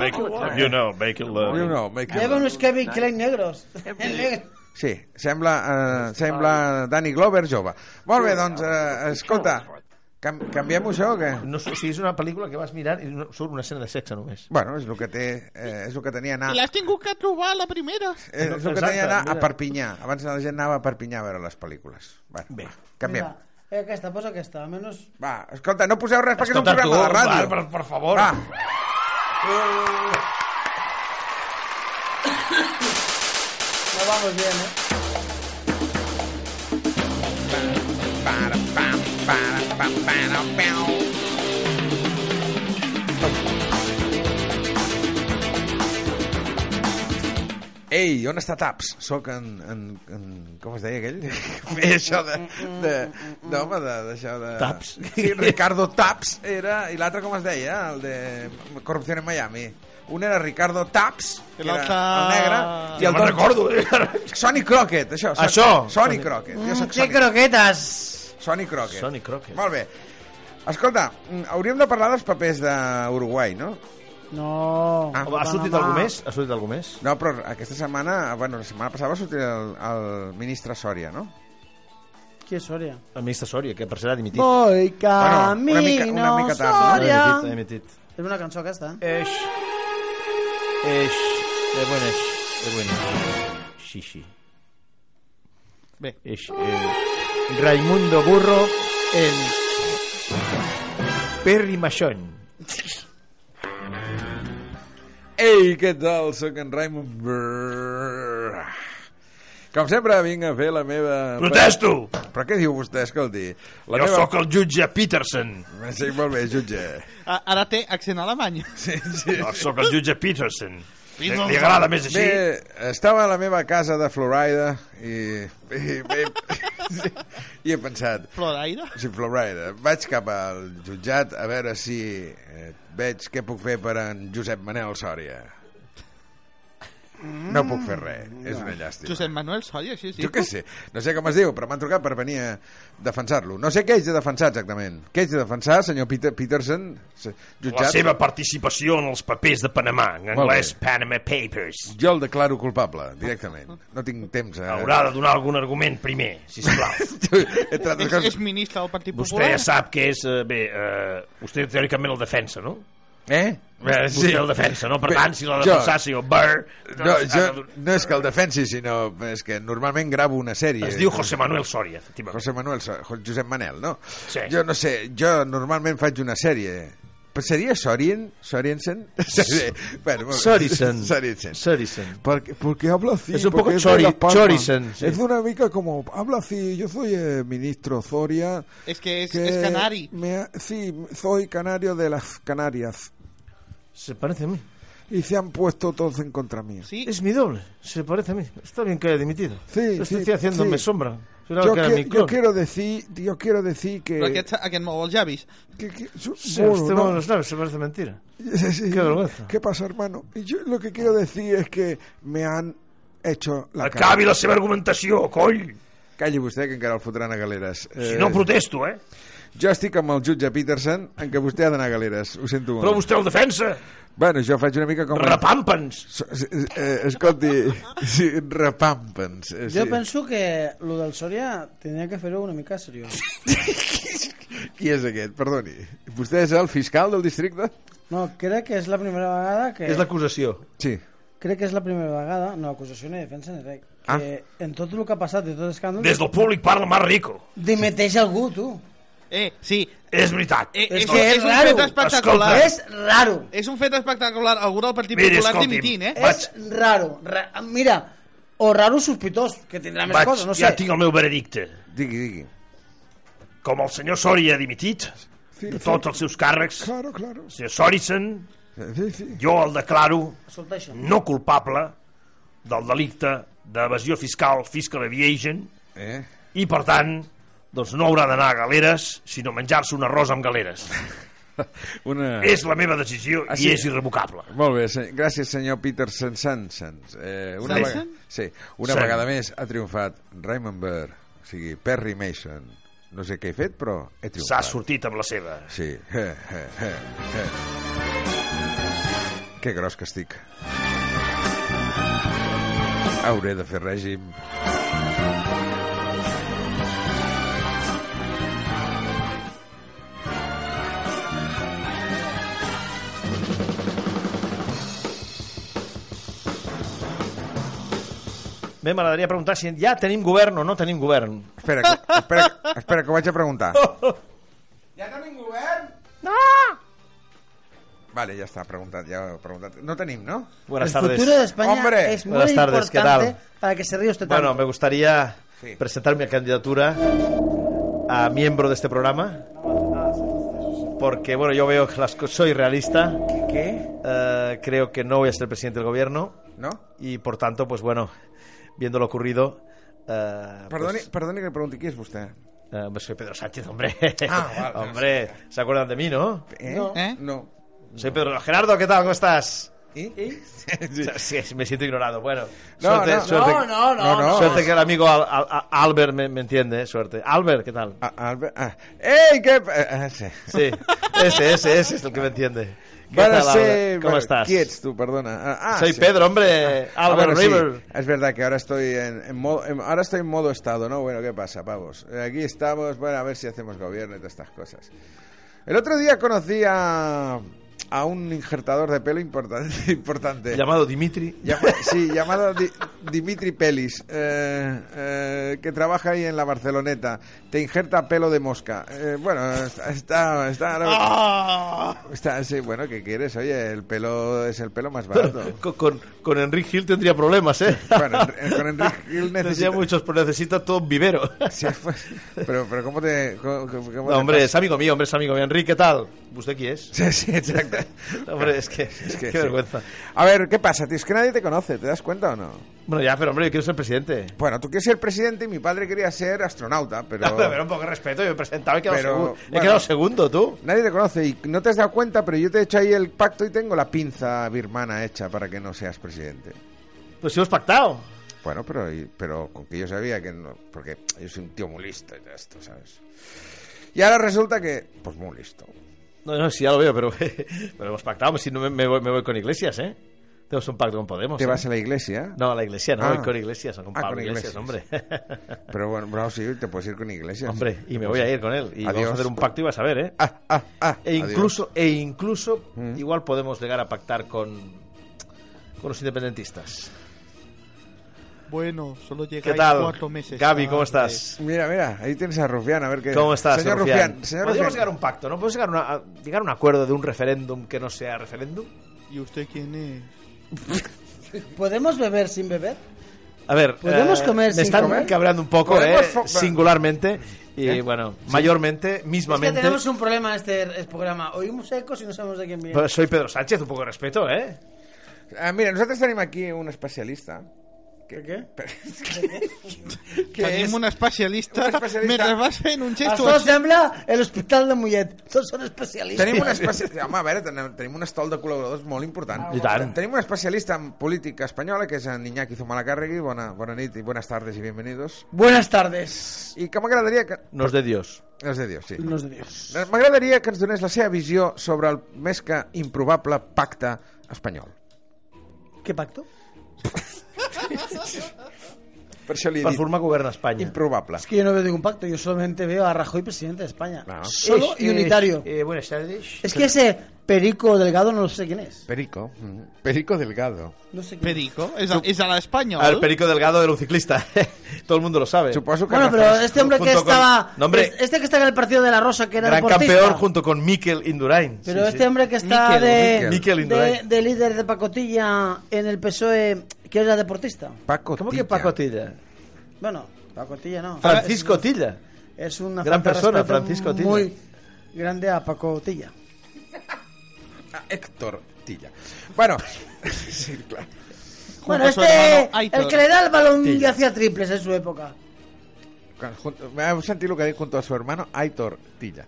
You know, make it love. You know, making lleva love. unos Kevin Klein negros. El negro. Sí, sembla, eh, sembla Danny Glover jove. Molt bé, doncs, eh, escolta, cam canviem això o què? No, sé, o sigui, és una pel·lícula que vas mirant i no, surt una escena de sexe només. Bueno, és el que té, eh, és el que tenia anar... L'has tingut que trobar a la primera. Eh, és el que Exacte, tenia anar a mira. Perpinyà. Abans la gent anava a Perpinyà a veure les pel·lículas. Bueno, Bé. Canviem. Mira, eh, aquesta, posa aquesta, a menos... Va, escolta, no poseu res perquè és un Escolta, programa de Artur, ràdio. va, per- per favor. Va, No vamos bien, eh. Para, pam, para, pam, para, pau. Ei, on està Taps? Soc en, en, en... Com es deia aquell? Que feia això de... de no, home, de- d'això de, Taps? Sí, Ricardo Taps era... I l'altre com es deia? El de Corrupció en Miami. Un era Ricardo Taps, I que era l'altre- el negre, i Ja el me'n Don... recordo. Eh? Sonny Crockett, això. Sonny- Això. Sonny Crockett. Jo Mm, soc qué Sonny croquetas. Sonny Crockett. Sonny Crockett. Molt bé. Escolta, mm, hauríem de parlar dels papers d'Uruguai, no? No. Ah, Home, ha sortit algú més? Ha sortit algú més? No, però aquesta setmana, bueno, la setmana passada va sortir el, el ministre Sòria, no? Qui és Soria? El ministre Sòria, que per ser ha dimitit. Voy camino, una mica- una mica tard, no? Soria. Ha dimitit, ha dimitit. És una cançó aquesta, eh? Eix. Eix. De buen eix. De buen eix. Xixi. Bé. Eix. Eh, Raimundo Burro en Perry Machón. Ei, què tal? Soc en Raimon Brrr. Com sempre, vinc a fer la meva... Protesto! Però què diu vostè, escolti? La Jo sóc el jutge Peterson. Sí, molt bé, jutge. A- Ara té accent alemany. Sí, sí. Jo sóc el jutge Peterson. Li, li agrada més així? Bé, estava a la meva casa de Florida i, i, i, sí, i he pensat, Floraire? sí, Florida, vaig cap al jutjat a veure si eh, veig què puc fer per en Josep Manel Sòria. No puc fer res, és una llàstima. Mm, Josep Manuel Solla, sí, sí. Jo què sé, no sé com es diu, però m'han trucat per venir a defensar-lo. No sé què haig de defensar exactament. Què haig de defensar, senyor Peter Peterson? Se- La Jutjat? seva participació en els papers de Panamà, Molt en bé. anglès Panama Papers. Jo el declaro culpable, directament. No tinc temps eh? a... Haurà de donar algun argument primer, sisplau. Entre altres És, coses... és ministre del Partit Vostè Popular. ja sap que és... eh, Bé, eh, vostè teòricament el defensa, no? Eh? Eh, Vostè el defensa, no? Per Bé, tant, si la jo- defensassi el Burr... No, jo, no és que el defensi, sinó és que normalment gravo una sèrie. Es diu José Manuel Soria, efectivament. José Manuel, Sa- Jo- Josep Manel, no? Sí. Jo no sé, jo normalment faig una sèrie. Però seria Sorien? Soriensen? Sí. Bueno, molt bé. Sorisen. Sorensen. Sorisen. Porque, porque habla así. Es un porque poco de chori- La Palma. chorisen, sí. Es una mica como, habla así, yo soy eh, ministro Zoria. És que és, que és canari. me ha- sí, soy canario de las Canarias. Se parece a mí. Y se han puesto todos en contra mí. Sí, Es mi doble. Se parece a mí. Está bien que haya dimitido. Sí, Estoy sí, haciéndome sí. sombra. Será Yo, que era que- mi yo clon. quiero decir, yo quiero decir que... però aquest, aquest mou els llavis. que- que- yo- Sí, bueno, este no. mono de los labios se parece mentira. Sí, sí. Qué vergüenza. ¿Qué pasa, hermano? Y Yo lo que quiero decir es que me han hecho la cara. Acabi la seva argumentació, coll! Calle vostè, que encara el fotran a galeres. Si no, protesto, eh? Jo estic amb el jutge Peterson en què vostè ha d'anar a galeres, ho sento molt. Però vostè el defensa! Bueno, jo faig una mica com... Repampa'ns! So- s- s- Eh, escolti, sí, repampens. Eh, Jo sí. penso que lo del Soria tindria que fer-ho una mica seriós. Qui és aquest? Perdoni. Vostè és el fiscal del districte? No, crec que és la primera vegada que... És l'acusació. Sí. Crec que és la primera vegada, no acusació ni defensa ni res, que en tot el que ha passat i tot l'escàndol Des del públic parla más rico. dimeteix algú, tu. Eh, sí. És veritat. Eh, és, És és, que és és un raro. fet espectacular. Escolta. És raro. És un fet espectacular. Algú del Partit Mira, Popular escolti'm, dimitint, eh? Vaig- És raro. Ra mira, o raro sospitós, que tindrà més Vaig, coses, no sé. ja tinc el meu veredicte. Digui, digui. Com el senyor Soria ha dimitit, Sí, de sí. tots els seus càrrecs, el Claro, claro. senyor Sorisen, Sí, sí. jo el declaro Escolta això. no culpable del delicte d'evasió fiscal, fiscal aviation, Eh? i per tant, doncs no haurà d'anar a galeres, sinó menjar-se un arròs amb galeres. Una... És la meva decisió Ah, i sí? és irrevocable. Molt bé, se- gràcies senyor Peterson Sansans. Eh, una Sanson? vega- Sí, una San. vegada més ha triomfat Raymond Burr, o sigui, Perry Mason. No sé què he fet, però he S'ha triomfat. sortit amb la seva. Sí. Eh, eh, eh, eh. Que gros que estic. Hauré de fer règim. Bé, m'agradaria preguntar si ja tenim govern o no tenim govern. Espera, que, espera, que- espera que ho vaig a preguntar. Ja tenim govern? Vale, ja està, preguntat, ja ho he preguntat. No tenim, no? Buenas el tardes. futuro de España Hombre. es muy Buenas tardes, ¿qué importante tal? para que se ríe usted Bueno, tanto. me gustaría Sí. presentar mi candidatura a miembro de este programa. Porque, bueno, yo veo que las co- soy realista. Què? eh, creo que no voy a ser presidente del gobierno. No? Y por tanto, pues bueno, viendo lo ocurrido. eh, Perdoni, pues, perdoni que li pregunti qui és vostè. eh, pues soy Pedro Sánchez, hombre. Ah, vale. hombre, ¿se acuerdan de mí, no? Eh? No. Eh? No. Soy Pedro. Gerardo, ¿qué tal? ¿Cómo estás? I? O sea, sí, me siento ignorado. Bueno, No, suerte, no, suerte. no, no, no, No, no. Suerte que el amigo Al- Al- Al- Albert me, me entiende, eh, suerte. Albert, ¿qué tal? Ah, Albert, ah. Ei, què... Ah, sí. Sí, ese, ese, ese es el que me entiende. ¿Qué Van a tal, ser- Albert? ¿Cómo bueno, estás? ¿Quién es tú? Perdona. Ah, ah, Soy sí. Pedro, eh, hombre, Ah, Albert bueno, sí. River. Es verdad que ahora estoy en, en modo, en- ahora estoy en modo estado, ¿no? Bueno, ¿qué pasa, pavos? Eh, Aquí estamos, bueno, a ver si hacemos gobierno y todas estas cosas. El otro día conocí a, a un injertador de pelo importante. importante. Llamado Dimitri. Llama- sí, llamado Di- Dimitri Pelis, eh, eh, que trabaja ahí en la Barceloneta, te injerta pelo de mosca. Eh, bueno, está... está, está, está- sí, bueno, ¿qué quieres? Oye, el pelo es el pelo más barato. Con, con, con Enric Gil tendría problemas, ¿eh? Bueno, en- con Enrique Gil necesita... Tendría muchos, pero necesita todo un vivero. Sí, pues, pero, pero ¿cómo te... Cómo, cómo te No, hombre, pasa? es amigo mío, hombre, es amigo mío. Enric, ¿qué tal? ¿Usted qui és? Sí, sí, exacte. No, Hombre, es que, es que qué sí. vergüenza. A ver, ¿qué pasa? Tío, es que nadie te conoce, ¿te das cuenta o no? Bueno, ya, pero hombre, yo quiero ser presidente. Bueno, tú quieres ser presidente y mi padre quería ser astronauta, pero... No, pero un poco de respeto, yo me he presentado, he quedado, Pero, segundo. he bueno. quedado segundo, tú. Nadie te conoce y no te has dado cuenta, pero yo te he hecho ahí el pacto y tengo la pinza birmana hecha para que no seas presidente. Pues sí, hemos pactado. Bueno, pero, y- pero con que yo sabía que no... Porque yo soy un tío muy listo y todo esto, ¿sabes? Y ahora resulta que... Pues muy listo. No, no, sí, ya lo veo, pero, pero hemos pactado. Si no, me, me voy, me voy con Iglesias, ¿eh? Tenemos un pacto con Podemos. Te ¿eh? vas a la iglesia, No, a la Iglesia, no, Ah. voy con Iglesias, no con Ah, Pablo con Iglesias, Iglesias. hombre. pero bueno, bravo, sí, te puedes ir con iglesias. hombre, y me voy a ir con él. Y vamos Adiós. a hacer un pacto y vas a ver, ¿eh? Ah, ah, ah. E adiós. incluso, e incluso Mm. igual podemos llegar a pactar con, con los independentistas. Bueno, solo llegáis ¿Qué tal? cuatro meses. Gaby, ¿cómo tarde. estás? Mira, mira, ahí tienes a Rufián, a ver qué... ¿Cómo estás, señor Rufián? señor Podríamos Rufián. llegar a un pacto, ¿no? Podemos llegar a, una- a- llegar a un acuerdo de un referéndum que no sea referéndum. ¿Y usted quién es? ¿Podemos beber sin beber? A ver, eh, ¿Podemos comer me sin están comer? cabreando un poco, eh, ¿Podemos fo- singularmente y bueno, mayormente, mismamente. un problema en este este programa. Oímos ecos y no sabemos de quién viene. Pues, Pero Soy Pedro Sánchez, un poco de respeto, ¿eh? Ah, mira, nosaltres tenim aquí un especialista. ¿Qué? qué? Tenim un especialista, Un especialista. mentre vas fent un gesto... Això sembla el hospital de Mollet. Tots són especialistes. Tenim un especialista... Home, a veure, tenim, tenim un estol de col·laboradors molt important. I tant. Tenim un especialista en política espanyola, que és en Iñaki Zumalacárregui. Bona, bona nit i buenas tardes i bienvenidos. Buenas tardes. I que m'agradaria que... Nos de Dios. Els de Dios, sí. Nos de Dios. M'agradaria que ens donés la seva visió sobre el més que improbable pacte espanyol. ¿Qué pacto? Per això li he Per dit formar govern a Espanya. improbable. Es que yo no veo ningún pacto, yo solamente veo a Rajoy presidente de España. Claro. Solo y Eh, unitario. eh, buenas tardes. Es que ese Perico Delgado no sé quién es. Perico. Mm. Perico Delgado. No sé quién es. Perico, és a, és a l'Espanyol. Al Perico Delgado era un ciclista. Todo el mundo lo sabe. Suposo que... Bueno, pero refereix- este hombre que Junto con- estaba... No, hombre. es- Este que está en el partido de la Rosa, que era Gran deportista. campeón junto con Mikel Indurain. Pero Sí, este sí. hombre que está Miquel, de, Miquel. Miquel de, Indurain. de líder de pacotilla en el PSOE, E, que era deportista. Paco ¿Cómo que Tilla. Paco Tilla? Bueno, pacotilla no. Francisco Tilla. Es una Gran falta de persona, respeto Francisco Tilla. Muy grande a pacotilla. Ah, Héctor Tilla. Bueno, sí, clar. Bueno, a su este, hermano Aitor. el que le da el balón Tilla. y hacía triples en su época. Quan- junto- Vau sentir el que ha dit junto a su hermano Aitor Tilla.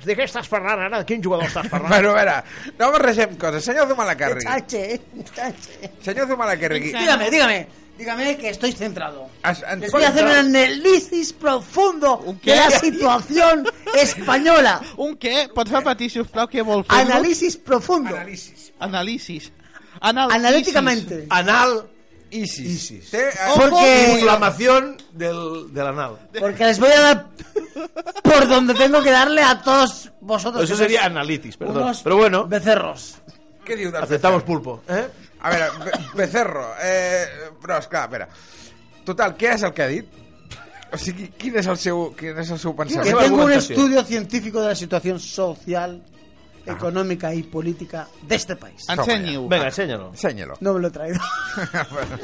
De què estàs parlant ara? De quin jugador estàs parlant? Bueno, a veure, no barregem coses. Senyor Zumalacárregui, Chache, chache. senyor Zumalacárregui, Dígame, dígame. Dígame que estoy centrado. Has- han- Les voy a hacer un análisis profundo ¿Un qué? de la situación española. Un què? Pots repetir, sisplau, què vol fer? Análisis profundo. Anàlisis. Anàlisis. Analíticamente. Anal. Isis. Isis. Té, eh, Porque, Inflamación del, del anal. porque les voy a dar por donde tengo que darle a todos vosotros. Pues Eso que sois sería analitis, perdón. unos Pero bueno, Becerros. què diu del aceptamos pulpo. ¿eh? Becerro? A veure, Be- Becerro, eh, però esclar, a veure. Total, què és el que ha dit? O sigui, quin és el seu, quin és el seu Que pensament? Lleva tengo un argumentación. estudio científico de la situación social, económica y política de este país. Ensenyi-ho. Venga, enséñalo. Ensenyi-lo. No me lo he traído. bueno,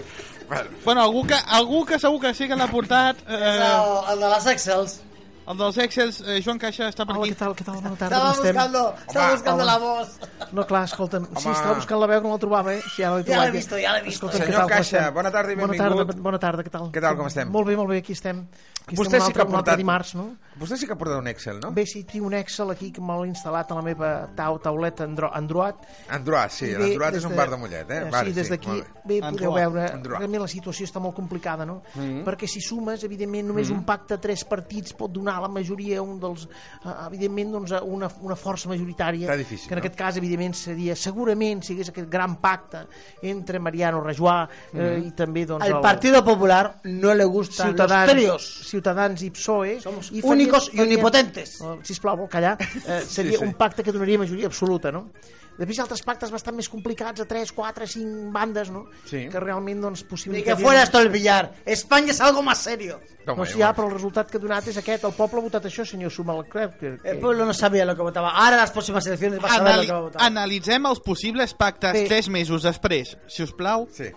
bueno. Bueno, algú que, algú que segur que sí que l'ha portat... Eh, No, el de las Excels. el dels Excels, eh, Joan Caixa, està per aquí. tal, què tal? Bona Estaba buscando, estaba Home, buscando home. la voz. No, clar, escolta'm, sí, Home. estava buscant la veu que no la trobava, eh? Sí, ara l'he Ya trobat. l'he vist, ja l'he vist. Escolta'm, Senyor què tal, com Caixa, estem? bona tarda i Bona benvingut. tarda, bona tarda, què tal? Què tal, com estem? Molt bé, molt bé, aquí estem. Aquí Vostè estem un sí que altre- ha un altre portat- dimarts, no? Vostè sí que ha portat un Excel, no? Bé, sí, tinc un Excel aquí que me l'he instal·lat a la meva tau, tauleta andro, Android. Androat, sí, I bé, l'Androat és des un de- bar de Mollet, eh? Vale, sí, des d'aquí, molt bé. bé, podeu Androat, veure, Androat. realment la situació està molt complicada, no? Mm. Perquè si sumes, evidentment, només un pacte a tres partits pot donar la majoria a un dels, eh, evidentment, doncs, a una, una força majoritària. Està difícil, que en no? aquest cas, evidentment, seria, segurament, si hi hagués aquest gran pacte entre Mariano Rajoy eh, Mm-hmm. i també, doncs... Al el- Partido Popular no le gustan Ciutadans, los tríos. Ciutadans i PSOE Somos i únicos i omnipotentes. Oh, Eh, sisplau, vol callar eh, seria sí, sí. un pacte que donaria majoria absoluta no? Després hi ha altres pactes bastant més complicats, a 3, 4, 5 bandes, no? Sí. Que realment, doncs, Ni possibilita... que fuera esto el billar. España es algo más serio. Toma, No, eh, sí, ja, però el resultat que ha donat és aquest. El poble ha votat això, senyor Sumalclerc. Que, El que... pueblo no sabía lo que votaba. Ahora las próximas elecciones va a saber Anali lo que va a votar. analitzem els possibles pactes Bé. tres mesos després, si us plau. Sí.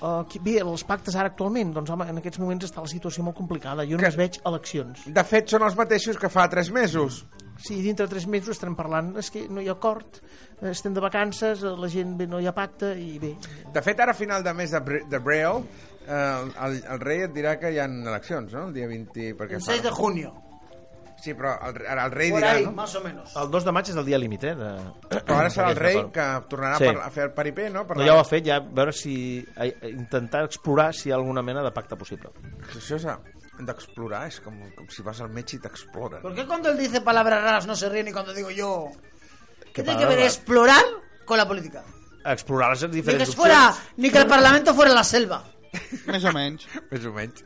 Uh, qui- bé, els pactes ara actualment, doncs, home, en aquests moments està la situació molt complicada. Jo Que- només veig eleccions. De fet, són els mateixos que fa 3 mesos. Sí, dintre de tres mesos estarem parlant. És que no hi ha acord, eh, estem de vacances, eh, la gent bé, no hi ha pacte i bé. De fet, ara a final de mes de, Bre- de Braille, eh, el, el rei et dirá que hi ha eleccions, no? El dia 20... Perquè El 6 de junio. Sí, però el, ara el rei Por dirà, ahí, no? más o menos. El 2 de maig és el dia límit, eh? De... Però ara serà el d'aquest rei acord. que tornarà Sí. sí. a fer el paripé, no? Per No, ja ho ha fet, ja a veure si... a- a Intentar explorar si hi ha alguna mena de pacte possible. Això és a- d'explorar, és com, com si vas al metge i t'exploren. ¿Por qué cuando él dice palabras raras no se ríe ni cuando digo yo? ¿Qué ¿Qué tiene que ver palabras? explorar con la política? Explorar les Ni que, diferents fuera, ni que el Parlamento fuera la selva. Més o menys. Més o menys.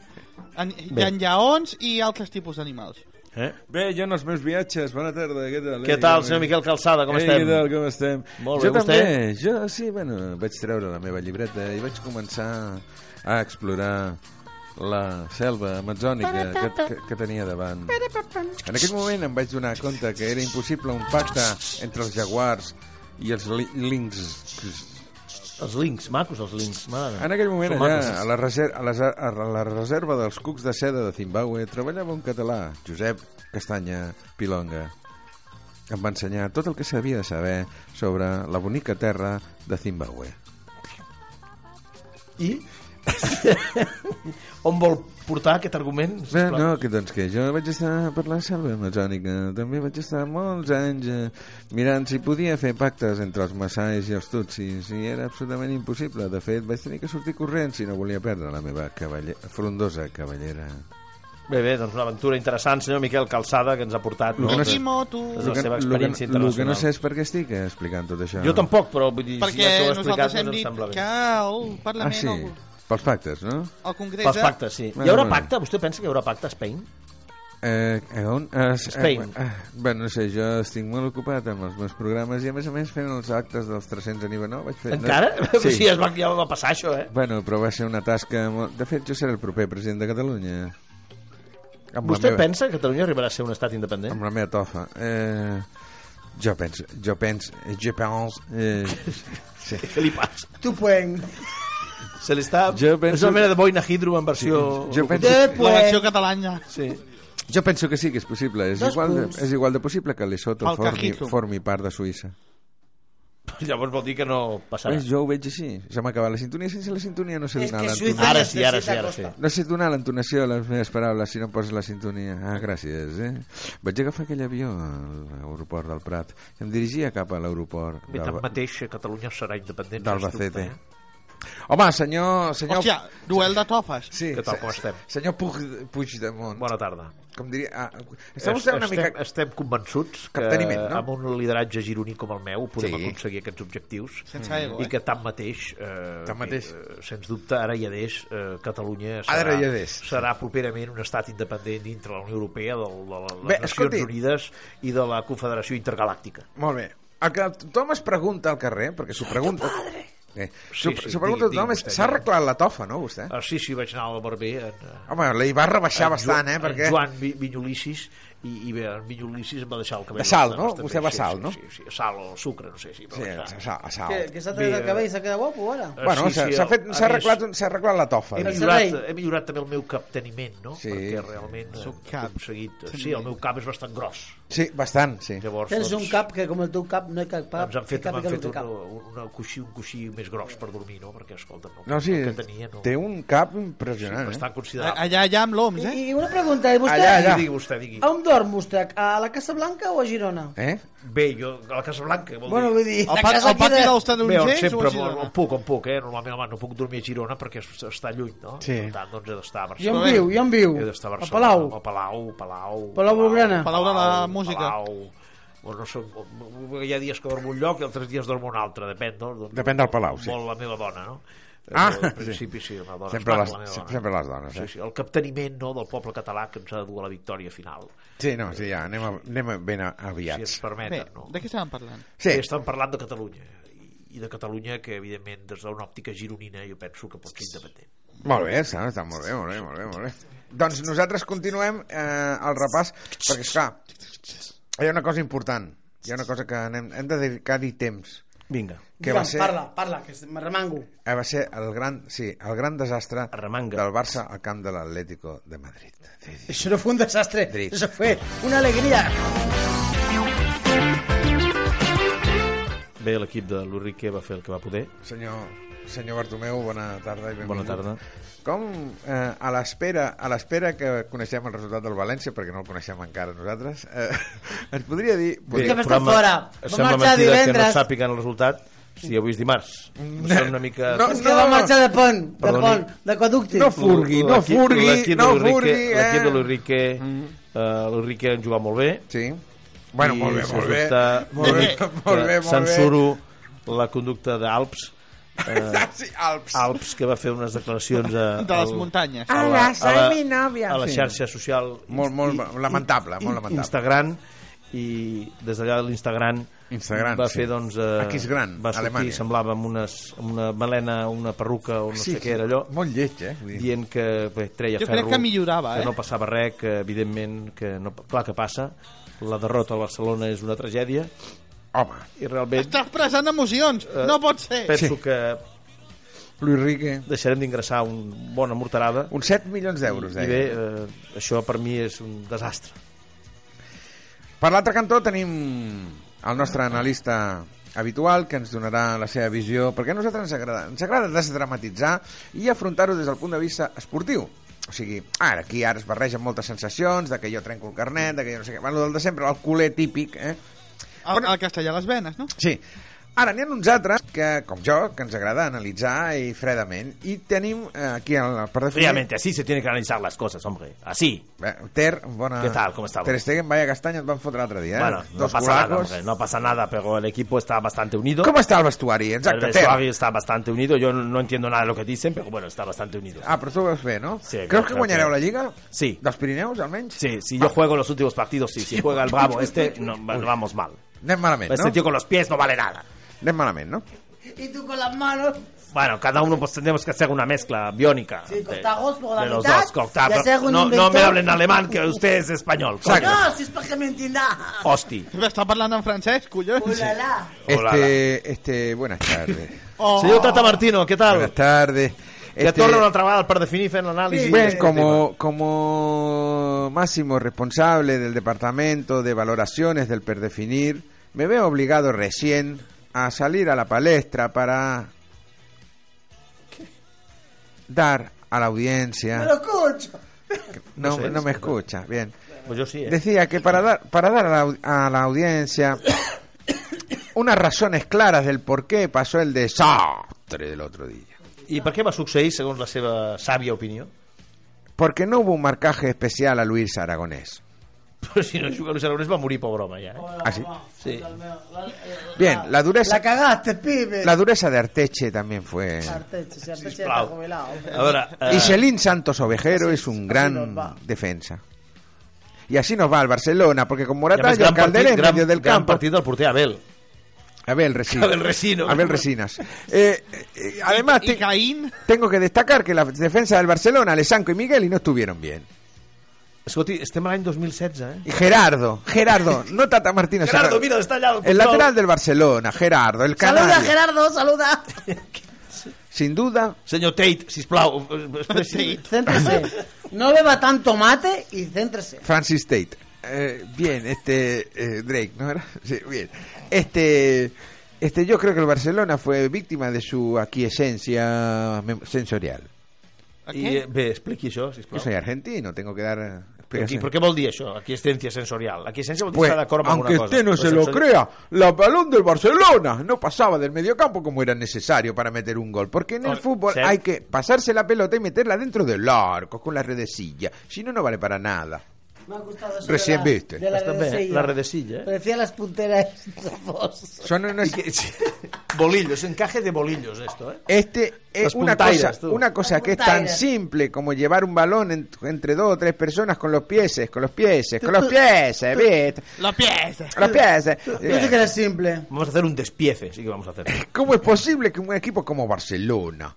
En, hi ha lleons i altres tipus d'animals. Eh? Bé, jo en els meus viatges, bona tarda, què tal? Què tal, senyor Miquel Calçada, com Ei, estem? Què tal, com estem? Molt jo bé, vostè? també, jo sí, bueno, vaig treure la meva llibreta i vaig començar a explorar la selva amazònica que, que, que tenia davant. En aquell moment em vaig donar compte que era impossible un pacte entre els jaguars i els li- links Els links, macos, els links. Mare. En aquell moment, Són allà, macos. a la, reserva, a, les, a la reserva dels cucs de seda de Zimbabue, treballava un català, Josep Castanya Pilonga. Em va ensenyar tot el que s'havia de saber sobre la bonica terra de Zimbabue. I? On vol portar aquest argument? Bé, sisplau? no, que, doncs que jo vaig estar per la selva amazònica, també vaig estar molts anys eh, mirant si podia fer pactes entre els massais i els tutsis, i era absolutament impossible. De fet, vaig tenir que sortir corrent si no volia perdre la meva cavaller... frondosa cavallera. Bé, bé, doncs una aventura interessant, senyor Miquel Calçada, que ens ha portat... Lo que no sé- I moto... És la Lo que- seva lo que- experiència Lo que no internacional. sé és per què estic eh, explicant tot això. Jo tampoc, però vull dir, si Perquè ja t'ho he explicat, nosaltres hem doncs em dit sembla bé. que el Ah, Parlament, sí. ah, sí. Pels pactes, no? el, el Congrés... Pels eh? pactes, sí. Bueno, Hi haurà bueno. pacte? Vostè pensa que hi haurà pacte a Spain? Eh, a on? Eh, s- eh, Spain. eh, bueno, no sé, jo estic molt ocupat amb els meus programes i a més a més fent els actes dels 300 aniversaris. Vaig fer, Encara? No? Sí, Sí. es va, ja va passar això, eh? Bueno, però va ser una tasca... Molt... De fet, jo seré el proper president de Catalunya. Amb Vostè la meva, pensa que Catalunya arribarà a ser un estat independent? Amb la meva tofa. Eh, jo penso, jo penso, eh, jo penso... Eh, sí. Què li passa? Tú pueden. Se li està... Jo penso- És una mena de boina hidro en versió... Jo penso... De La versió pueden. catalana. Sí. Jo penso que sí, que és possible. És, Dos igual de, punts. és igual de possible que Lesotho El formi, Cajito. formi part de Suïssa. Llavors vol dir que no passarà. Ves, jo ho veig així. Se m'ha acabat la sintonia. Sense la sintonia no sé Es donar que l'entonació. Suiza Ara sí, ara sí, necesita ara sí. costa. No sé donar l'entonació a les meves paraules si no em poses la sintonia. Ah, gràcies, eh? Vaig agafar aquell avió a l'aeroport del Prat. Em dirigia cap a l'aeroport Bé, d'Alba- tanmateix, Catalunya serà independent. eh? d'Albacete. Home, senyor... senyor... Hòstia, duel de tofes. Sí, Què tal, se- com estem? Senyor Puig, Puigdemont. Bona tarda. Com diria... Ah, està vostè una estem, mica... estem convençuts que Capteniment, no? amb un lideratge gironí com el meu podem Sí. aconseguir aquests objectius Sense ego, i eh? que tanmateix, eh, Tanmateix. eh, sens dubte ara i adés eh, Catalunya Ara serà, i adés. serà properament un estat independent dintre la Unió Europea de, de, de les Bé, Nacions escolti. Unides i de la Confederació Intergalàctica Molt bé. El que tothom es pregunta al carrer, perquè s'ho pregunta... Eh, s'ho Sí, sí, s'ho pregunta digui, tothom, és digui vostè, s'ha digui. arreglat la tofa, no, vostè? ah, sí, sí, vaig anar al barber en, eh, Home, la hi va rebaixar en bastant, Joan- eh, perquè... en Joan Vi- Vinyolissis i, i bé, en Vinyolissis em va deixar el cabell De sal, bastant, no? bastant Vostè bé. va sí, sal, sí, no? Sí, sí, sal o sucre, no sé si Sí, va a deixar. sal- a sal. Que, que s'ha tret el Bé, cabell i s'ha quedat guapo, ara. Eh, Bueno, sí, s'ha sí, s'ha fet- a s'ha més, arreglat, un- s'ha arreglat la tofa. He El millorat, servei. he millorat també el meu capteniment, no? Sí. Perquè realment eh, seu he cap. aconseguit... Sí, el meu cap és bastant gros. Sí, bastant, sí. Llavors, Tens un doncs, cap que com el teu cap no hi cap cap. ens han fet, cap, m'han cap, fet cap, un, cap. una coixí, un coixí més gros per dormir, no? Perquè, escolta, no, No, sí, el que tenia, no, té un cap sí, impressionant, eh? bastant considerable. Allà, allà amb l'OMS, eh? I, I una pregunta, i vostè... Allà, allà. Digui vostè, digui. On dorm vostè? A la Casa Blanca o a Girona? Eh? Bé, jo, a la Casa Blanca, vol Bueno, dir... vull dir, El, pa, el pati dels queda- Bé, on tarongers Doncs o sempre, a on, Girona? on puc, on puc, eh? Normalment, home, no puc dormir a Girona perquè es- està lluny, no? Sí. Per tant, doncs he d'estar a Jo Barcelona. en viu, jo en viu. He d'estar a A Barcelona. Palau. A Palau, Palau. Palau Blaugrana. Palau de la Música. Palau. Bueno, no sé, hi ha dies que dormo un lloc i altres dies dormo un altre, depèn, no? Depèn del palau, sí. Molt la meva dona, no? Ah, al principi sí, la dona. Sempre, Esclar, les, la meva dona. sempre les dones. Sí, Eh? sí, el capteniment no, del poble català que ens ha de dur a la victòria final, Sí, no, sí, ja, anem, a, anem a ben si ens aviats. Bé, permeten. No? de què estàvem parlant? Sí, Sí. Estan parlant de Catalunya i- i de Catalunya que, evidentment, des d'una òptica gironina jo penso que pot ser independent. molt bé, està, està molt bé, molt bé, molt bé, molt bé. Doncs nosaltres continuem eh, el repàs, perquè, esclar, hi ha una cosa important, hi ha una cosa que anem, hem de dedicar-hi temps, Vinga. que va Digue'm, ser, Parla, parla, que me remango. eh, va ser el gran, sí, el gran desastre Arremanga. del Barça al camp de l'Atlético de Madrid. Sí, sí. Eso no fue un desastre, Drit. eso fue una alegría. Bé, l'equip de l'Urrique va fer el que va poder. Senyor, senyor Bartomeu, bona tarda i benvingut. Bona tarda. Com eh, a l'espera a l'espera que coneixem el resultat del València, perquè no el coneixem encara nosaltres, eh, ens podria dir... Bé, podria- que m'està fora. Va Sembla marxar mentida que no divendres. sàpiguen el resultat si avui és dimarts. Són una mica... No, Es que va marxar de pont, de Perdoni. pont, de conducte. No furgui, no L'equip- furgui, l'equip de no l'Enrique- furgui, eh? L'equip de l'Urrique... eh, L'Urrique han jugat molt bé. Sí. Bueno, I, molt bé, sens molt bé. dubte, Molt bé, dic que molt bé, molt bé. Censuro la conducta d'Alps. Eh, Sí, Alps. Alps, que va fer unes declaracions a, De les al- muntanyes. a la, a la, a la xarxa social Molt, molt lamentable, molt lamentable. Instagram i des d'allà de l'Instagram Instagram, va sí. fer doncs eh, Aquí és gran, va sortir, Alemanya. semblava amb, unes, amb una melena una perruca o no Sí, sé què era allò Molt lleig, eh? Vull dir, dient que bé, treia Jo crec ferro que millorava, eh? que no passava res, que evidentment que no, clar que passa la derrota al Barcelona és una tragèdia Home, i realment Estàs presant emocions, no pot ser. penso que Luis Rique, deixarem d'ingressar un bona morterada uns 7 milions d'euros, I deia. bé, eh, això per mi és un desastre. Per l'altre cantó tenim el nostre analista habitual que ens donarà la seva visió perquè a nosaltres ens agrada, ens agrada desdramatitzar i afrontar-ho des del punt de vista esportiu o sigui, ara aquí ara es barregen moltes sensacions de que jo trenco el carnet de que jo no sé què, bueno, del de sempre, el culer típic eh? El, el castellà a les venes, no? Sí. Ara, n'hi ha uns altres que, com jo, que ens agrada analitzar i fredament. I tenim eh, aquí, el, per definir... así se tienen que analizar las cosas, hombre. Así. Bé, Ter, bona... Què tal, com estàveu? Ter Stegen, vaya castanya, et van fotre l'altre dia, eh? golacos. No pasa nada, pero el equipo está bastante unido. Com està el vestuari? Exacte, Ter. está bastante unido. Yo no entiendo nada de lo que dicen, pero bueno, está bastante unido. Ah, però tu ho veus bé, no? Sí, Creus crec que que- guanyareu la Lliga? Sí. Dels Pirineus, almenys? Sí, si yo juego los últimos partidos, sí. Si juega el Bravo este, no, vamos mal. Anem malament, Este tío no? con los pies no vale nada. Anem malament, no? Y tú con las manos, Bueno, cada uno pues tendremos que hacer una mezcla biónica. Sí, cortagos por la de los mitad, dos, cortar- y hacer un No, no inventor. me hablen alemán, que usted es español. coño. no, si es para que me entienda. Hosti. Està parlant en francès, collons. Ulala. Hola. Este, este, buenas tardes. Oh. Senyor Tata Martino, què tal? buenas tardes. Que torna una altra vegada per definir fent l'anàlisi. Sí, Pues d'aquest tema. como, como máximo responsable del departamento de valoraciones del Perdefinir, me veo obligado recién a salir a la palestra para dar a la Me lo audiencia. escucho. No, sé, no me escucha, bien. Pues jo sí, eh? Decía que para dar, para dar a, la, au- a la audiencia unas razones claras del por qué pasó el desastre del otro día. I per què va succeir, segons la seva sàvia opinió? Porque no hubo un marcaje especial a Luis Aragonés. Però si no juga Luis Aragonès va morir, pobre home, ja. Eh? Así. Sí. Ah, Bien, la dureza. La cagaste, pibe. La dureza de Arteche también fue. Arteche, si Arteche ya Sisplau. está jubilado. A veure... eh, Y Celín Santos Ovejero es así un nos gran va. defensa. Y así nos va al Barcelona, porque i con a Morata més, y el gran, Calderé partit, en gran, medio del gran campo. partit del porter Abel. Abel Resino. Abel Resino. Abel Resinas. Eh, eh, además, I te- Caín, tengo que destacar que la defensa del Barcelona, Alessanco y Miguel, y no estuvieron bien. Escolti, estem a l'any 2016, eh? Y Gerardo, Gerardo, no Tata Martínez. Gerardo, mira, està allà al El lateral del Barcelona, Gerardo, el Saluda, canario. Gerardo, saluda. Sin duda, Senyor Tate, sisplau. eh, expressi. Céntrese. No beba tanto mate y céntrese. Francis Tate. Eh, bien, este eh, Drake, ¿no era? Sí, bien. Este, este, yo creo que el Barcelona fue víctima de su aquiescencia mem- sensorial. I, eh, bé, expliqui això, sisplau. Yo soy argentino, tengo que dar eh, Aquí, explicaciones. però què vol dir això? Aquiescència sensorial. Aquiescència vol dir Pues, estar d'acord amb aunque alguna cosa. usted no pues Però se lo sensori- crea, la balón del Barcelona no pasaba del mediocampo como era necesario para meter un gol. Porque en el Ahora, fútbol sí. hay que pasarse la pelota y meterla dentro del arco, con la redecilla. Si no, no vale para nada. Me ha gustado eso Recién de la, viste. De la Està bé, redecilla. la redecilla, eh? Parecía las punteras de vos. Són unes... Bolillos, encaje de bolillos, esto, ¿eh? Este es Las una puntairas, cosa, tú. una cosa Las que es tan puntairas. simple como llevar un balón en- entre dos o tres personas con los pies, con los pies, con los pies, ¿viste? La pieza. Con los Eh, pies. Yo sé que era simple. Vamos a hacer un despiece, sí que vamos a hacer. ¿Cómo es posible que un equipo como Barcelona,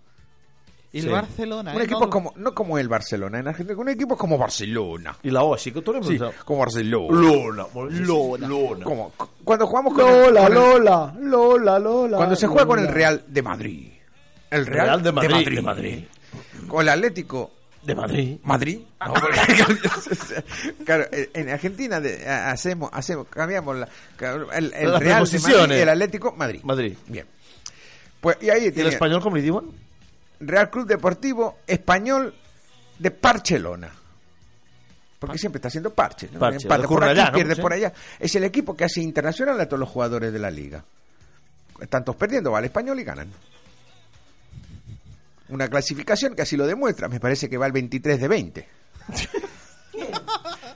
Y el Sí. Barcelona. un eh, equipo no- como no como el Barcelona en Argentina, un equipo como Barcelona, Y la O, sí que tú eres sí, un- como Barcelona, Lona, Lona, Lona. como cuando jugamos con el- con el- Lola, Lola, Lola. Cuando se juega con el Real de Madrid. El Real, Real de Madrid, De de Madrid. Madrid. Con el Atlético De Madrid. Madrid. No, porque- claro, eh, en Argentina de- a- hacemos, hacemos, cambiamos la, Las el, el Real de Madrid preposiciones. y el Atlético Madrid. Madrid. Bien. Pues y ahí ¿Y el tiene español cómo le diuen? Real Club Deportivo Español de Barcelona. Porque siempre está haciendo parche. ¿no? Parche, Empata del por aquí, Cornellà, ¿no? pierde Sí. por allá. Es el equipo que hace internacional a todos los jugadores de la liga. Tantos perdiendo, va al español y ganan. Una clasificación que así lo demuestra. Me parece que va al 23 de 20.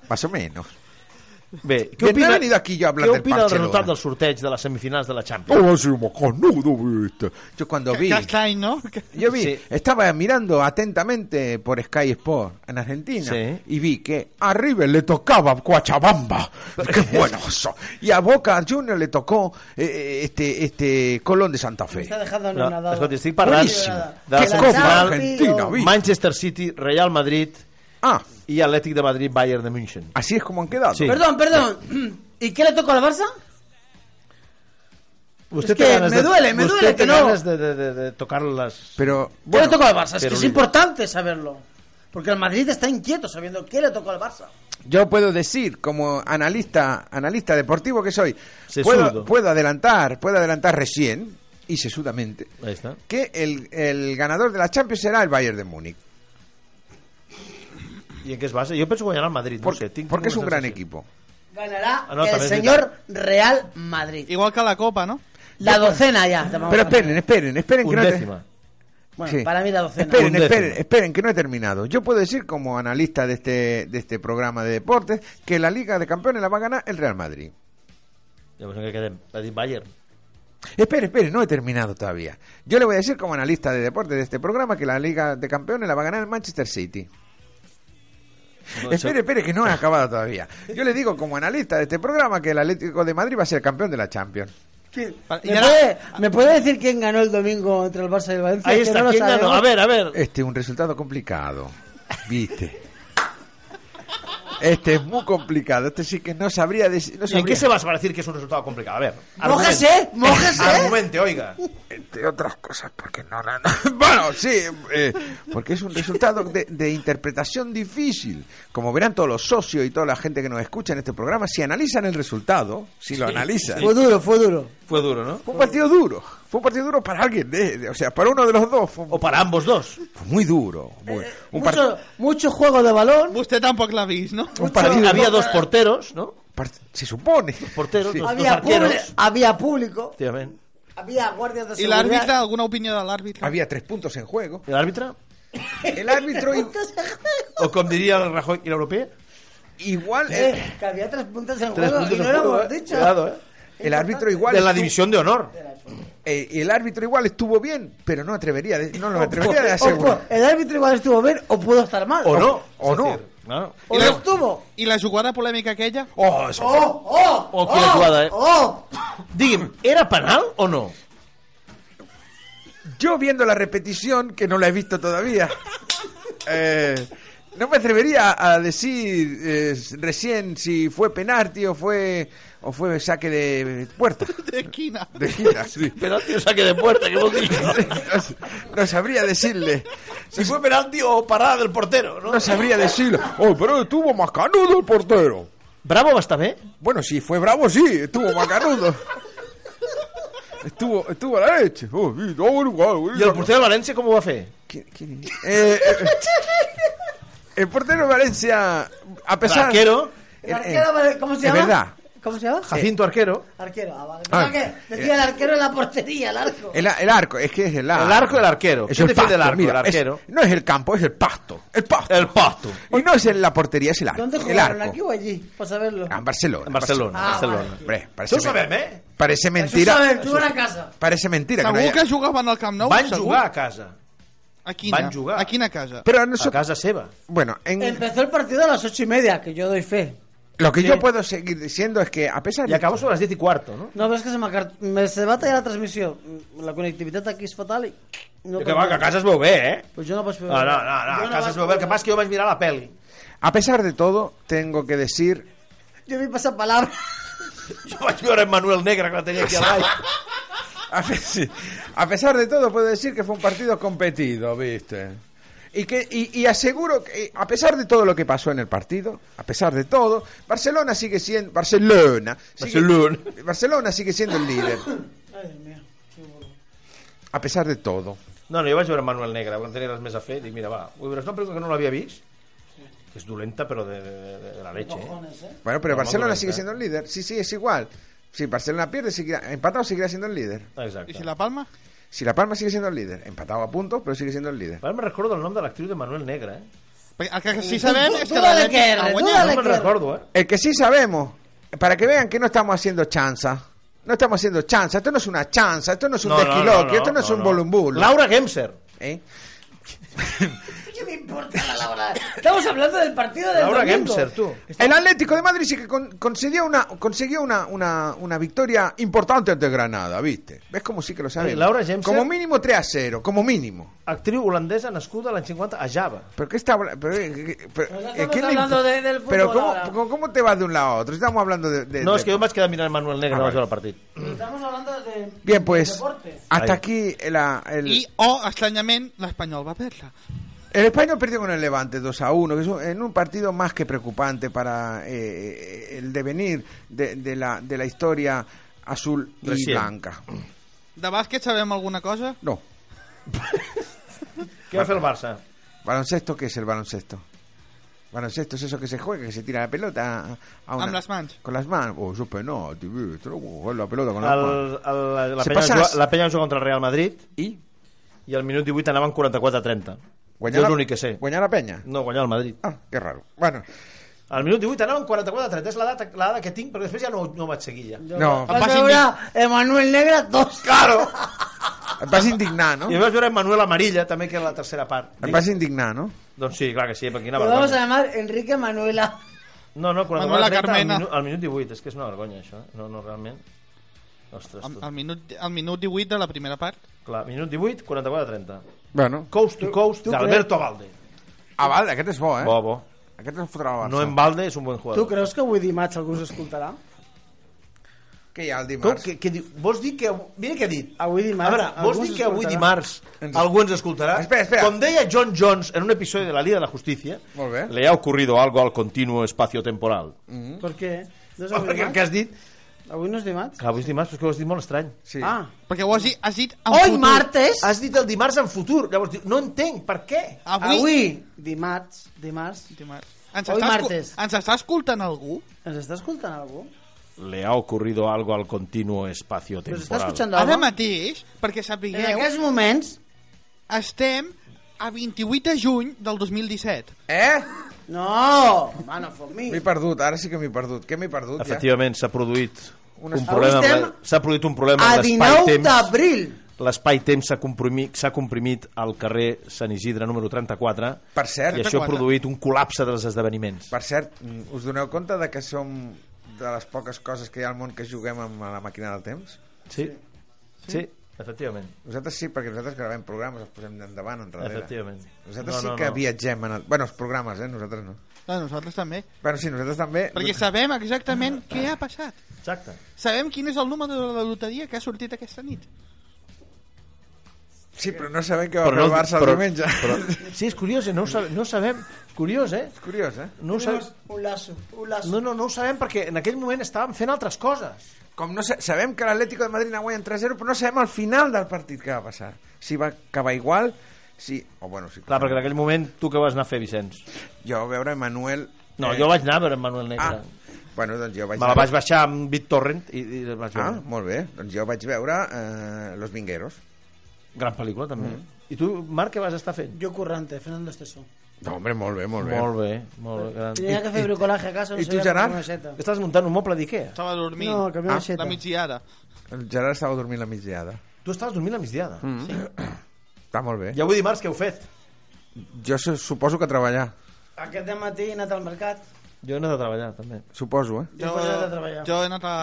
Más o menos. Bé, Bien, no he venido aquí yo a hablar què del opina Barcelona. el resultat del sorteig de les semifinals de la Champions? Oh, sí, macanudo, viste. Yo cuando vi... Castaigne, ¿no? Yo vi, Sí. estaba mirando atentamente por Sky Sport en Argentina Sí. y vi que a River le tocaba Cochabamba, qué bueno eso. Y a Boca Junior le tocó eh, este este Colón de Santa Me Fe. está dejando No, anonadado. escolti, estic parlant Boníssim. de la Que copa semifinal Argentina, vi. Manchester City, Real Madrid Ah, i Atlètic de Madrid, Bayern de München. así es como han quedado. Sí. Perdón, perdón. ¿Y qué le tocó al Barça? Vostè Es que té ganes me duele, me vostè duele té que no. ganes de, de, de, de tocar les... Pero ¿Qué le bueno, tocó al Barça? Es que pero es libre. importante saberlo. Porque el Madrid está inquieto sabiendo qué le tocó al Barça. yo puedo decir como analista analista deportivo que soy, puedo, Sesudo. puedo adelantar, puedo adelantar recién y sesudamente Ahí está. que el, el ganador de la Champions será el Bayern de Múnich. I en què es basa? Jo penso guanyar el Madrid. Por- no sé, tinc, porque tinc es un una gran sensació. equipo. Ganará Ah, no, el también es señor Real Madrid. Igual que la Copa, ¿no? La docena ya. te vamos Pero a ganar. esperen, esperen, esperen que no te- Undècima. Bueno, Sí. para mí la docena. Esperen, Un décimo. esperen, esperen, que no he terminado. Yo puedo decir, como analista de este, de este programa de deportes, que la Liga de Campeones la va a ganar el Real Madrid. Llavors en què quedem? Ha dit Bayern. Esperen, esperen, no he terminado todavía. Yo le voy a decir, como analista de deportes de este programa, que la Liga de Campeones la va a ganar el Manchester City. No, això- espere, espere, que no he acabado todavía. Yo le digo, como analista de este programa, que el Atlético de Madrid va a ser campeón de la Champions. Vale, y ¿Me, ahora- puede, me puede decir quién ganó el domingo entre el Barça y el Valencia? Ahí Que está, no lo ¿quién ganó? sabemos. A ver, a ver. Este es un resultado complicado. ¿Viste? Este es muy complicado. Este sí que no sabría decir. ¿Y No en sabría. qué se basa para decir que es un resultado complicado? A ver. ¡Mójese! ¡Mójese! Argumente, oiga. Entre otras cosas, porque no. no, no. Bueno, sí, eh, porque es un resultado de, de interpretación difícil. Como verán todos los socios y toda la gente que nos escucha en este programa, si analizan el resultado, si lo analizan. Fue duro, fue duro. Fue duro, ¿no? Fue un partido duro. Fue un partido duro para alguien, eh, de- o sea, para uno de los dos. Fue, O para ambos dos. fue muy duro. muy- Eh, un, par- Mucho, mucho juego de balón. Usted tampoco la viste, ¿no? Pues un partido. Había dos porteros, ¿no? par- se supone. Porteros, dos, dos Había, arqueros. publi- había público. Efectivament. Había guardias de ¿Y el seguridad. árbitro? ¿Alguna opinión del árbitro? Había tres puntos en juego. I l'àrbitre? El árbitro i- O com diria el Rajoy i l'europea? igual Eh, que había tres puntos en Tres juego puntos y no en lo juego, hemos eh? dicho. Cuidado, eh? el árbitro igual De la estu- división de honor. eh, el árbitro igual estuvo bien, pero no atrevería de- no Oh, lo atrevería a O pu- asegurar. el árbitro igual estuvo bien o pudo estar mal. O no. O no. És a dir, no. O no estuvo. ¿Y la jugada polémica aquella? Oh, eso- ¡Oh! ¡Oh! O qué jugada, eh. ¡Oh! Digui'm, era penal o no? Yo viendo la repetición que no la he visto todavía. eh, no me atrevería a decir eh, recién si fue penalti o fue o fue saque de puerta. De esquina. De gira, sí. Penalti o saque de puerta, que vol dir? No- no sabría decirle. Si fue penalti o parada del portero, no? No sabría decirle. Oh, pero estuvo más canudo el portero. Bravo va estar eh? bé? Bueno, si fue bravo, sí, estuvo macanudo. estuvo, estuvo a la leche. Oh, sí, no, bueno, bueno, bueno. I el porter de València com ho va fer? ¿Qui- quién es? Eh, eh, el portero de Valencia, a pesar. Arquero. eh, Eh, El arquero, ¿cómo se llama? Es verdad. ¿Cómo se llama? Jacinto Arquero. Arquero. Ah, vale. Ah. Ah, que decía el arquero en la portería, el arco. El, el arco, es que es el arco. El arco, el arquero. Es ¿Quién el defiende pasto, el arco, mira, el arquero? es- no es el campo, es el pasto. El pasto. El pasto. Y no es en la portería, es el arco. ¿Dónde el jugaron? arco. ¿Aquí o allí? Para saberlo. Ah, En Barcelona. En Barcelona. Ah, Barcelona. vale. Hombre, parece Això ho men- sabem, eh? Parece Mentira. mentira. Això sabem, tu a casa. Parece mentira que no Segur hi que ha... jugaven al Camp Nou? Van segur. jugar a casa. A quina? Van jugar. A quina casa? Pero no A sé- casa seva. Bueno, en... Empezó el partido a las ocho y media, que yo doy fe. lo que yo puedo seguir diciendo es que a pesar I acabó sobre les 10 i cuarto, no? No, ves que se me, acar- me- se va a tallar la transmisión. La conectividad aquí es fatal y... No Que va, que a casa es veu bé, eh? Pues yo no vaig veure. No, no, no, no, a casa es veu bé. El que passa és que jo vaig mirar la pel·li. a pesar de todo, tengo que decir Jo vaig passar palabra. Jo vaig veure en Manuel Negre que la tenia aquí a baix. A, pe- sí. A pesar de todo, puedo decir que fue un partido competido, ¿viste? Y, que, y, y aseguro que, a pesar de todo lo que pasó en el partido, a pesar de todo, Barcelona sigue siendo. Barcelona. sigue- Barcelona. Barcelona sigue siendo el líder. A pesar de todo. No, no, jo vaig veure en Manuel Negre, quan tenia res més a fer, dic, mira, va, vull veure, és una pel·lícula que no l'havia vist, que és dolenta, però de, de, de, de la leche, eh? Bueno, pero No, Barcelona Madrid, sigue ¿eh? siendo el líder. Sí, sí, es igual. Si Barcelona pierde, seguirá, empatado seguirá siendo el líder. I Exacte. si la Palma? Si La Palma sigue siendo el líder, empatado a puntos, pero sigue siendo el líder. Ara me'n recordo el nom de l'actriu de Manuel Negre, eh? Perquè el que sí sabem Tu- és tu que dale l'Atlètic que eres, ha tu guanyat. dale No me'n Negre. recordo, eh? El que sí sabemos, para que vean que no estamos haciendo chanza. No estamos haciendo chanza. Esto no es una chanza, esto no es un desquiloquio, esto no, es un bolumbulo. Laura Gemser. ¿Eh? ¿Qué me importa la Laura? Estamos hablando del partido del Laura domingo. Gemser, tu. El Atlético de Madrid sí que con- consiguió, una, consiguió una, una, una victoria importante ante Granada, ¿viste? ¿Ves cómo sí que lo sabemos? Eh, Laura Gemser. Como mínimo 3 a 0, como mínimo. Actriu holandesa nascuda l'any 50 a Java. ¿Pero qué está habla- pero, eh, eh, pero, Pero no eh, estamos ¿quién le hablando impo- de- del Pero fútbol ahora. ¿cómo, cómo- cómo te vas de un lado a otro? Estamos hablando de... de- No, de- és que jo em vaig quedar mirant Manuel Negre, Ah, no vale. vaig veure el partit. Estamos hablando de... Bien, pues deporte. hasta Ahí. aquí la- el... I, o, estranyament, l'Espanyol va perdre. El Español perdió con el Levante 2 a 1, que es un, en un partido más que preocupante para eh, el devenir de, de la, de la historia azul y Recién. blanca. De bàsquet sabem alguna cosa? No, Què va fer el Barça? baloncesto, ¿qué es el baloncesto? Baloncesto es eso que se juega, que se tira la pelota a, a una- Amb les mans. Con las manos. Oh, eso es penalti, viste, no puedo jugar la pelota con El, las manos. el, la, Se penya passa- juga, la penya juga contra el Real Madrid ¿Y? i al minut 18 anaven 44-30. Jo és l'únic que sé. guanyar la peña. No, guanyar el Madrid. Ah, qué raro. Bueno, Al minut 18 anaven 44-30. És la data, la data que tinc, però després ja no, no vaig seguir ja. no, Vas veure Emanuel Negra dos. claro. Vas indignar, ¿no? I vaig veure Manuel Amarilla, també, que era la tercera part. Vas indignar, ¿no? Doncs sí, clar que sí, perquè quina Lo vamos a vergonya. llamar Enrique Manuela. No, no, 44-30 Manuela al, Carmena. minu, al minut 18. És que és una vergonya, això. eh? No, no, realment. Ostres, Al, tu. al, minut, al minut 18 de la primera part. Clar, minut 18, 44-30. Bueno. Coast to Coast tu d'Alberto Valde. Ah, vale, aquest és bo, eh? Bo, bo. Aquest ens fotrà la Barça. No en Valde és un bon Tu jugador. creus que avui dimarts algú s'escoltarà? Què hi ha el Com, dimarts? que, que, diu- vols dir que... Mira què ha dit. Avui dimarts a veure, algú vols ens dir que avui escoltarà? dimarts algú ens escoltarà? Espera, espera. Com deia John Jones en un episodi de la Liga de la Justicia, Molt bé. le ha ocurrido algo al continuo espacio-temporal. Mm. Per què? No és avui Perquè el que dimarts? has dit... Avui no és dimarts? Clar, avui és dimarts, però és que ho has dit molt estrany. Sí. Ah. Perquè ho has dit, has dit en Hoy futur. martes. Has dit el dimarts en futur. Llavors, diu, no entenc, per què? Avui. Avui dimarts. Dimarts. Dimarts. Ens està, Hoy escu- martes. ens està escoltant algú? Ens està escoltant algú? Le ha ocurrido algo al continuo espacio-temporal. Nos està escoltant Ara algú? mateix, perquè En sapigueu, aquests moments... estem a 28 de juny del 2017. Eh? No! Home, no fot mi. M'he perdut, ara sí que m'he perdut. Què m'he perdut, ja? Efectivament, s'ha produït Una- un problema... Avui amb la- estem S'ha produït un problema A amb 19 l'espai-temps. d'abril. L'espai-temps s'ha comprimit, s'ha comprimit al carrer Sant Isidre número 34 Per cert, i això ha 34. produït un col·lapse dels esdeveniments. per cert, mm, us doneu compte de que som de les poques coses que hi ha al món que juguem amb la màquina del temps? Sí. Sí, efectivament. Nosaltres sí, perquè nosaltres gravem programes, els posem endavant, enrere. Efectivament. Nosaltres sí que viatgem en el... Bueno, els programes, eh? Nosaltres no. A nosaltres també. Bueno, sí, nosaltres també... Perquè sabem exactament què ha passat. Exacte. Sabem quin és el número de la loteria que ha sortit aquesta nit. Sí, però no sabem què va fer el Barça el diumenge. Però, sí, és curiós, eh? no, ho sabem, no ho sabem. És curiós, eh? És curiós, eh? No ho, sabem, Un lasso, un lasso. no, no, no ho sabem perquè en aquell moment estàvem fent altres coses. Com no sa sabem que l'Atlético de Madrid ha guanyat 3-0, però no sabem al final del partit què va passar. Si va acabar igual, si... O bueno, si... Clar, perquè en aquell moment tu què vas anar a fer, Vicenç? Jo a veure Manuel... No, jo vaig anar a veure en Manuel Negre. Eh. Ah, Ah. Bueno, doncs jo vaig... Me la vaig baixar amb BitTorrent i, i la vaig Ah, veure. molt bé. Doncs jo vaig veure eh, Los Vingueros. Gran pel·lícula, també. Mm. I tu, Marc, què vas estar fent? Yo currante, Fernando Esteso. No, hombre, molt bé, molt bé. Molt bé, molt bé. Gran. Tenía que hacer bricolaje acaso. ¿Y tú, sabía Gerard? cómo meseta. Estàs muntant un moble d'Ikea. Estava dormint. No, No, que había Ah, meseta. la migdiada. El Gerard estava dormint la migdiada. Tu estaves dormint a migdiada. Mm. Està molt bé. I avui dimarts què heu fet? Jo su- suposo que treballar. Aquest dematí he anat al mercat. Jo he anat a treballar, també. Suposo, eh? Jo, Jo, he anat a treballar. jo he anat a...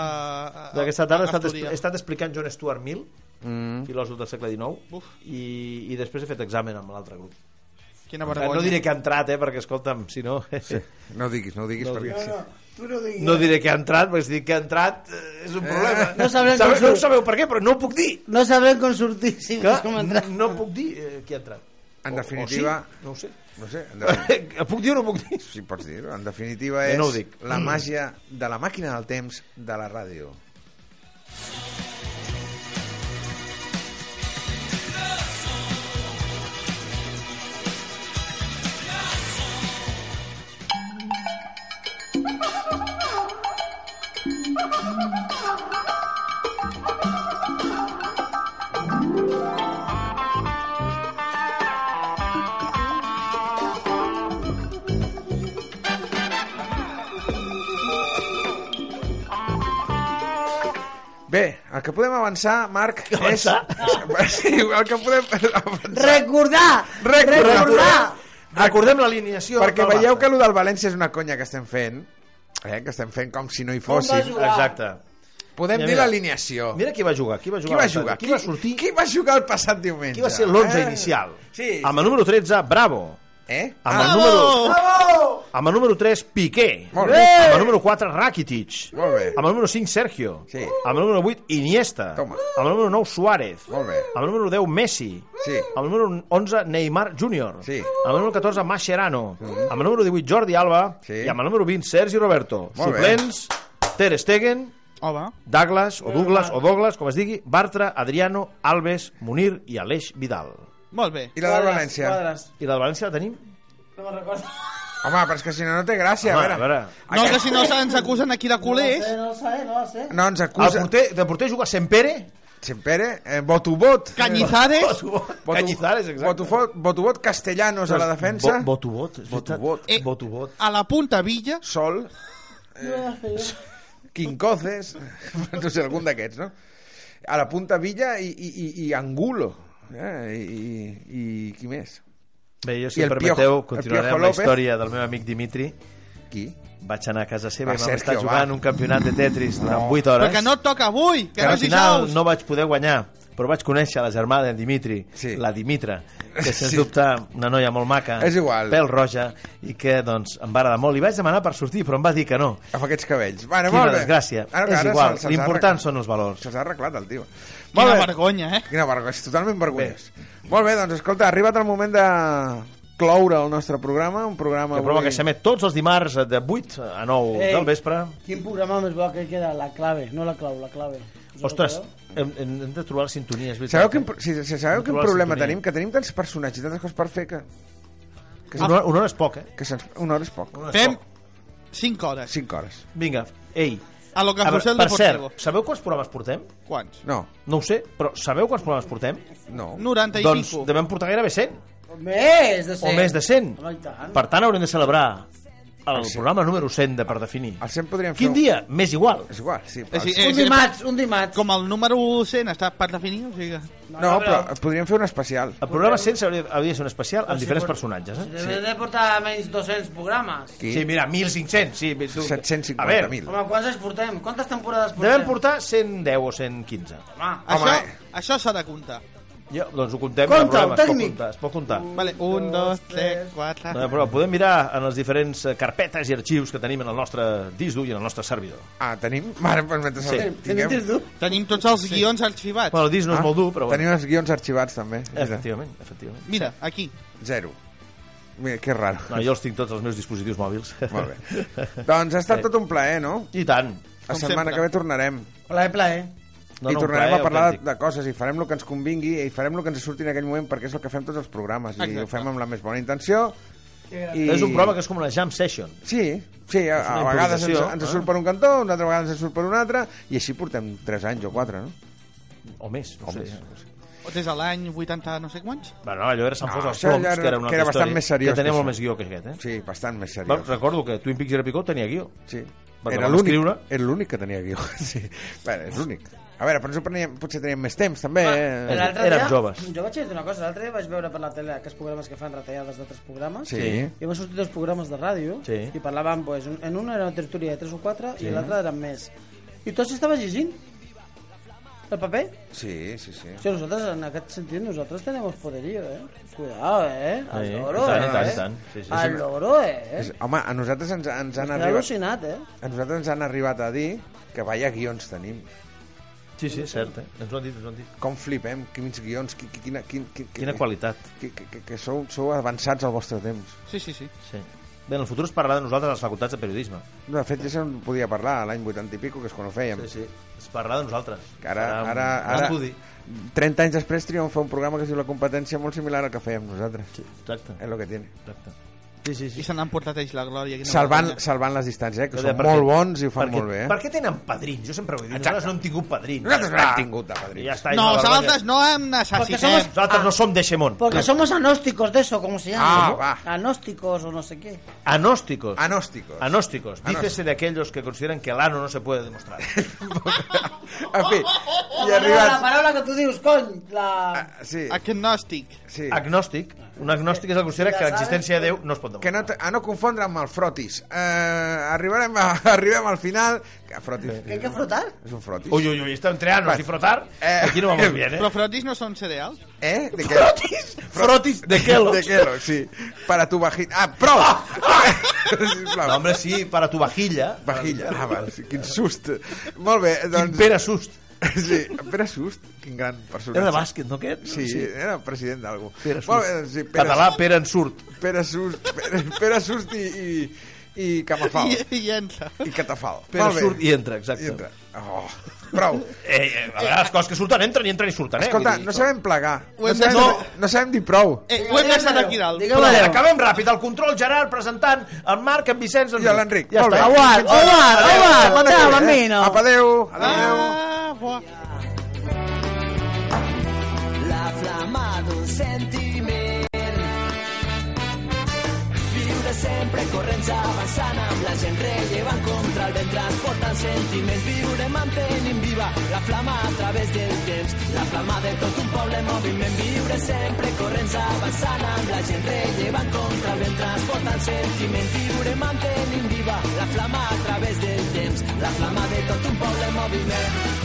a- a Aquesta Ah, tarda he estat, Astúria. he estat explicant John Stuart Mill, mm. filòsof del segle XIX, Uf. i, i després he fet examen amb l'altre grup. Quina vergonya. No diré que ha entrat, eh, perquè, escolta'm, si no... Sí. No ho diguis, no ho diguis. No ho perquè... diguis. No, tu no diguis. No diré que ha entrat, perquè si dic que ha entrat eh, és un problema. No sabrem sabeu, com no surt. sabeu per què, però no ho puc dir. No sabrem com sortir si Que veus com entrar. no puc dir eh, qui ha entrat. En O- o definitiva- sí, no ho sé. No sé, en definitiva, puc dir o no puc dir? si pots dir-ho. En definitiva Eh, és no ho dic. la màgia de la màquina del temps de la ràdio. Bé, el que podem avançar, Marc, és... Sí, el que podem avançar... Recordar! Recordar. Recordem l'alineació. Perquè del veieu Barça. que allò del València és una conya que estem fent, eh? que estem fent com si no hi fóssim. jugar. Exacte. Podem Mira, dir mira. l'alineació. Mira qui va jugar, qui va jugar. Qui va l'altre- jugar? Qui va sortir? Qui va jugar el passat diumenge? Ah. Qui va ser l'11 inicial? Sí. Amb el número 13, Bravo. Eh? Amb el Ah, número... Amb el número 3, Piqué. Molt bé. Amb el número 4, Rakitic. Molt bé. Amb el número 5, Sergio. Sí. Amb el número 8, Iniesta. Toma. Amb el número 9, Suárez. Molt bé. Amb el número 10, Messi. Sí. Amb el número 11, Neymar Júnior. Sí. Mm-hmm. Amb el número 14, Mascherano. Amb el número 18, Jordi Alba. Sí. I amb el número 20, Sergi Roberto. Molt bé. Suplents, Ter Stegen, Home, Douglas, o Douglas, o Douglas, com es digui, Bartra, Adriano, Alves, Munir i Aleix Vidal. molt bé. I la de València? Quadres. I la de València la tenim? No me'n recordo. Home, però és que si no, no té gràcia. Home, a a veure. veure. No, que si no se'ns acusen aquí de culers. No ho sé, no ho sé. No ho sé. No ens El acusa. porter, de porter juga Sempere? Sempere, eh, Botubot. Cañizares. Cañizares, exacte. Botufo- Botubot Castellanos a la defensa. Bo, botubot, és veritat. Botubot. Eh. Botubot. A la punta Villa. Sol. Eh, Quincoces. No sé, algun d'aquests, no? A la punta Villa i, i, i, i Angulo. Eh? I, i, I qui més? Bé, jo, I si el em permeteu, Piojo- el continuaré Piojo amb la López. història del meu amic Dimitri. Qui? Vaig anar a casa seva Va, i vam estar Sergio, jugant va. un campionat de Tetris durant No. 8 hores. Però que no et toca avui, que que no al és final dijous. no vaig poder guanyar, però vaig conèixer la germana de Dimitri, Sí. la Dimitra, que sens Sí. dubte una noia molt maca, És igual. pèl roja, i que doncs, em va agradar molt. Li vaig demanar per sortir, però em va dir que no. Amb aquests cabells. Bueno, Quina Eh, molt bé. desgràcia. Ara- és ara igual, se'ls- se'ls ha l'important arreglat. són els valors. Se'ls ha arreglat, el tio. Molt Quina bé. vergonya, eh? Quina vergonya, és totalment vergonyós. Molt bé, doncs escolta, ha arribat el moment de cloure el nostre programa, un programa... Que prova que s'emet tots els dimarts de 8 a 9 Ei. del vespre. Quin programa més bo que queda? La clave, no la clau, la clave. Us en Ostres, recordeu? hem, hem hem de trobar la sintonia, és veritat. eh? Sabeu quin, pro- si, si sabeu quin Trobar la problema sintonia. tenim? Que tenim tants personatges i tantes coses per fer que, Que una, hora- una hora és poc, eh? que se'ns... Una hora és poc. Una hora és Fem poc. 5 hores. Cinc hores. Vinga, ei. A lo que A José veure, el per Deportivo. cert, sabeu quants programes portem? Quants? No, No ho sé, però sabeu quants programes portem? no. 90 i Doncs pico. devem portar gairebé 100. Més de 100. o més de 100. Home, i tant. Per tant, haurem de celebrar el sí. programa número 100 de per definir. Al 100 podríem fer... Quin un- dia? Més igual. És igual, sí. És a dir, al- eh, Un dimarts, un dimarts. Com el número 100 està per definir, o sigui... que- No, Ah, però podríem fer un especial. El programa 100 hauria, hauria de ser un especial amb diferents personatges. Eh? Hem de portar menys 200 programes. Aquí. Sí, mira, 1.500. Sí, bé, tu- A veure, 750.000. Home, quants es portem? Quantes temporades portem? devem portar 110 o 115. Home, Home, Això, eh. això s'ha de comptar. Jo, doncs ho comptem. Compte, el programa, el tècnic. Es pot comptar, es pot comptar. Vale, un, dos, tres, No, quatre... però podem mirar en les diferents eh, carpetes i arxius que tenim en el nostre disc dur i en el nostre servidor. Ah, tenim... Mare, pues, mentre Sí. el tenim tinguem... tens tu? Tenim tots els guions arxivats. Bueno, el disc no és Ah, molt dur, però bueno. Tenim els guions arxivats, també. Mira, Efectivament, efectivament. Mira, aquí. Zero. Mira, que raro. No, jo els tinc tots els meus dispositius mòbils. Molt bé. Doncs ha estat tot un plaer, no? I tant. La Com setmana sempre. que ve tornarem. Plaer, plaer. No, I no, un tornarem plaer a parlar autèntic. de, de coses i farem el que ens convingui i farem el que ens surti en aquell moment perquè és el que fem tots els programes i Exacte. ho fem amb la més bona intenció I... És un programa que és com una jam session. Sí, sí, a, a vegades ens, improvisació, ens eh? surt per un cantó, una altra vegada ens surt per un altre, i així portem 3 anys o 4, no? O més, no O sé. més. Des de l'any 80 no sé quants? Bueno, no, allò era Sant No, Fos als això ja Ploms, era- que era una que era altra bastant història, més seriós Que tenia que molt això. més guió que aquest, eh? Sí, bastant més Va, seriós. recordo que Twin Peaks i Repicot tenia guió. Sí. Va Era acabar l'únic d'escriure. era l'únic que tenia guió. Sí. Bueno, és l'únic. A veure, però nosaltres teníem, potser teníem més temps, també. eh? Però l'altre érem dia- joves. Jo vaig dir una cosa, l'altre dia vaig veure per la tele aquests programes que fan retallades d'altres programes. Sí. sí. I van sortir dos programes de ràdio Sí. i parlaven, pues, un- en un era una tertúlia de 3 o 4 i l'altre eren més. I tots estaven llegint el paper. Sí, sí, sí. Hòstia, nosaltres, en aquest sentit, nosaltres tenemos poderío, eh? Cuidado, eh? Al Sí, loro, i tant, eh? i tant, i tant. Sí, sí, Al sí. loro, eh? És, home, a nosaltres ens, ens han M'he arribat... al·lucinat, eh? A nosaltres ens han arribat a dir que vaya guions tenim. Sí, sí, és cert, eh? Ens ho han dit, ens ho han dit. Com flipem, quins guions, qui, qui, quina, quin, qui, Quina qualitat. Que, que, que, que sou, sou avançats al vostre temps. Sí, sí, sí. Sí. Bé, en el futur es parlarà de nosaltres a les facultats de periodisme. No, de fet, ja se'n podia parlar l'any 80 i pico, que és quan ho fèiem. Sí, sí. Es parlarà de nosaltres. Que ara, Serà un- ara, un ara, estudi. 30 anys després triomfa un programa que es diu La competència molt similar al que fèiem nosaltres. Sí. Exacte, És el que tiene. exacte. Sí, sí, sí. I se n'han portat ells la glòria. quina Salvant, vergonya. salvant les distàncies, eh, que Perquè- són molt bons i ho fan perquè, molt bé. Eh? Per què tenen padrins? Jo sempre ho he dit. Nosaltres no hem tingut padrins. Nosaltres Ja no hem està. tingut de padrins. Ja està, és No, una vergonya. nosaltres no en Perquè somos- assassinem. Nosaltres no som de Xemón. Porque somos agnósticos de eso, ¿cómo se llama? Ah, ¿no? va. Agnósticos o no sé qué. Anòsticos. Ah, Anòsticos. Anósticos. Anós- Dícese de aquellos que consideran que el ano no se puede demostrar. en fi, i La arribat... palabra que tú dius, coño, la... Ah, Sí, Eh, Agnòstic. sí. Agnòstic. Un agnòstic és el que considera que l'existència de Déu no es pot Que no demostrar. te, a no confondre amb el frotis. Eh, arribarem a, arribem al final... Que frotis. ¿Qué hay que frotar? És un frotis. Ui, ui, ui, està entre anos Bueno, i frotar. eh, Aquí no vamos bien, Però eh? frotis no són cereals. Eh? De què? Frotis. Frotis de De Kellogg's. Kellogg, sí. Para tu vagina. Ah, prou! Sisplau. ah. No, hombre, sí, para tu vajilla. Vajilla. Ah, va, sí, quin sust. Molt bé, Quin doncs... Pere Sust. Sí, Pere Sust, quin gran personatge. Era de bàsquet, no aquest? Sí, era president d'algú. Pere Sust. Molt bé, doncs, eh, sí, Pere, Català, Pere en surt. Pere Sust, Pere, Pere Sust i, i, i Camafal. I, i entra. I Catafal. Pere Molt bé. surt i entra, exacte. I entra. Oh, prou. Eh, eh, a vegades coses que surten entren i entren i surten, eh? Escolta, Vull dir, no sabem plegar. Ho No hem de- sabem, no. no sabem dir prou. Eh, ho hem deixat aquí dalt. Digueu Però, adéu. acabem ràpid. El control, Gerard, presentant el Marc, en Vicenç... en I a l'Enric. Ja està. Molt bé. Fins Aguant, ara. aguant, Adéu, aguant. setmana que Ciao, ve, eh? bambino. Apa, adéu. Adéu. Ah, buah. la flama d'un sentiment. Viure sempre corrents avançant amb la gent rellevant contra el vent transportant sentiments. Viure mantenint viva la flama a través del temps, la flama de tot un poble en moviment. Viure sempre corrents avançant amb la gent rellevant contra el vent transportant sentiments. Viure mantenint viva la flama a través del temps, la flama de tot un poble en moviment.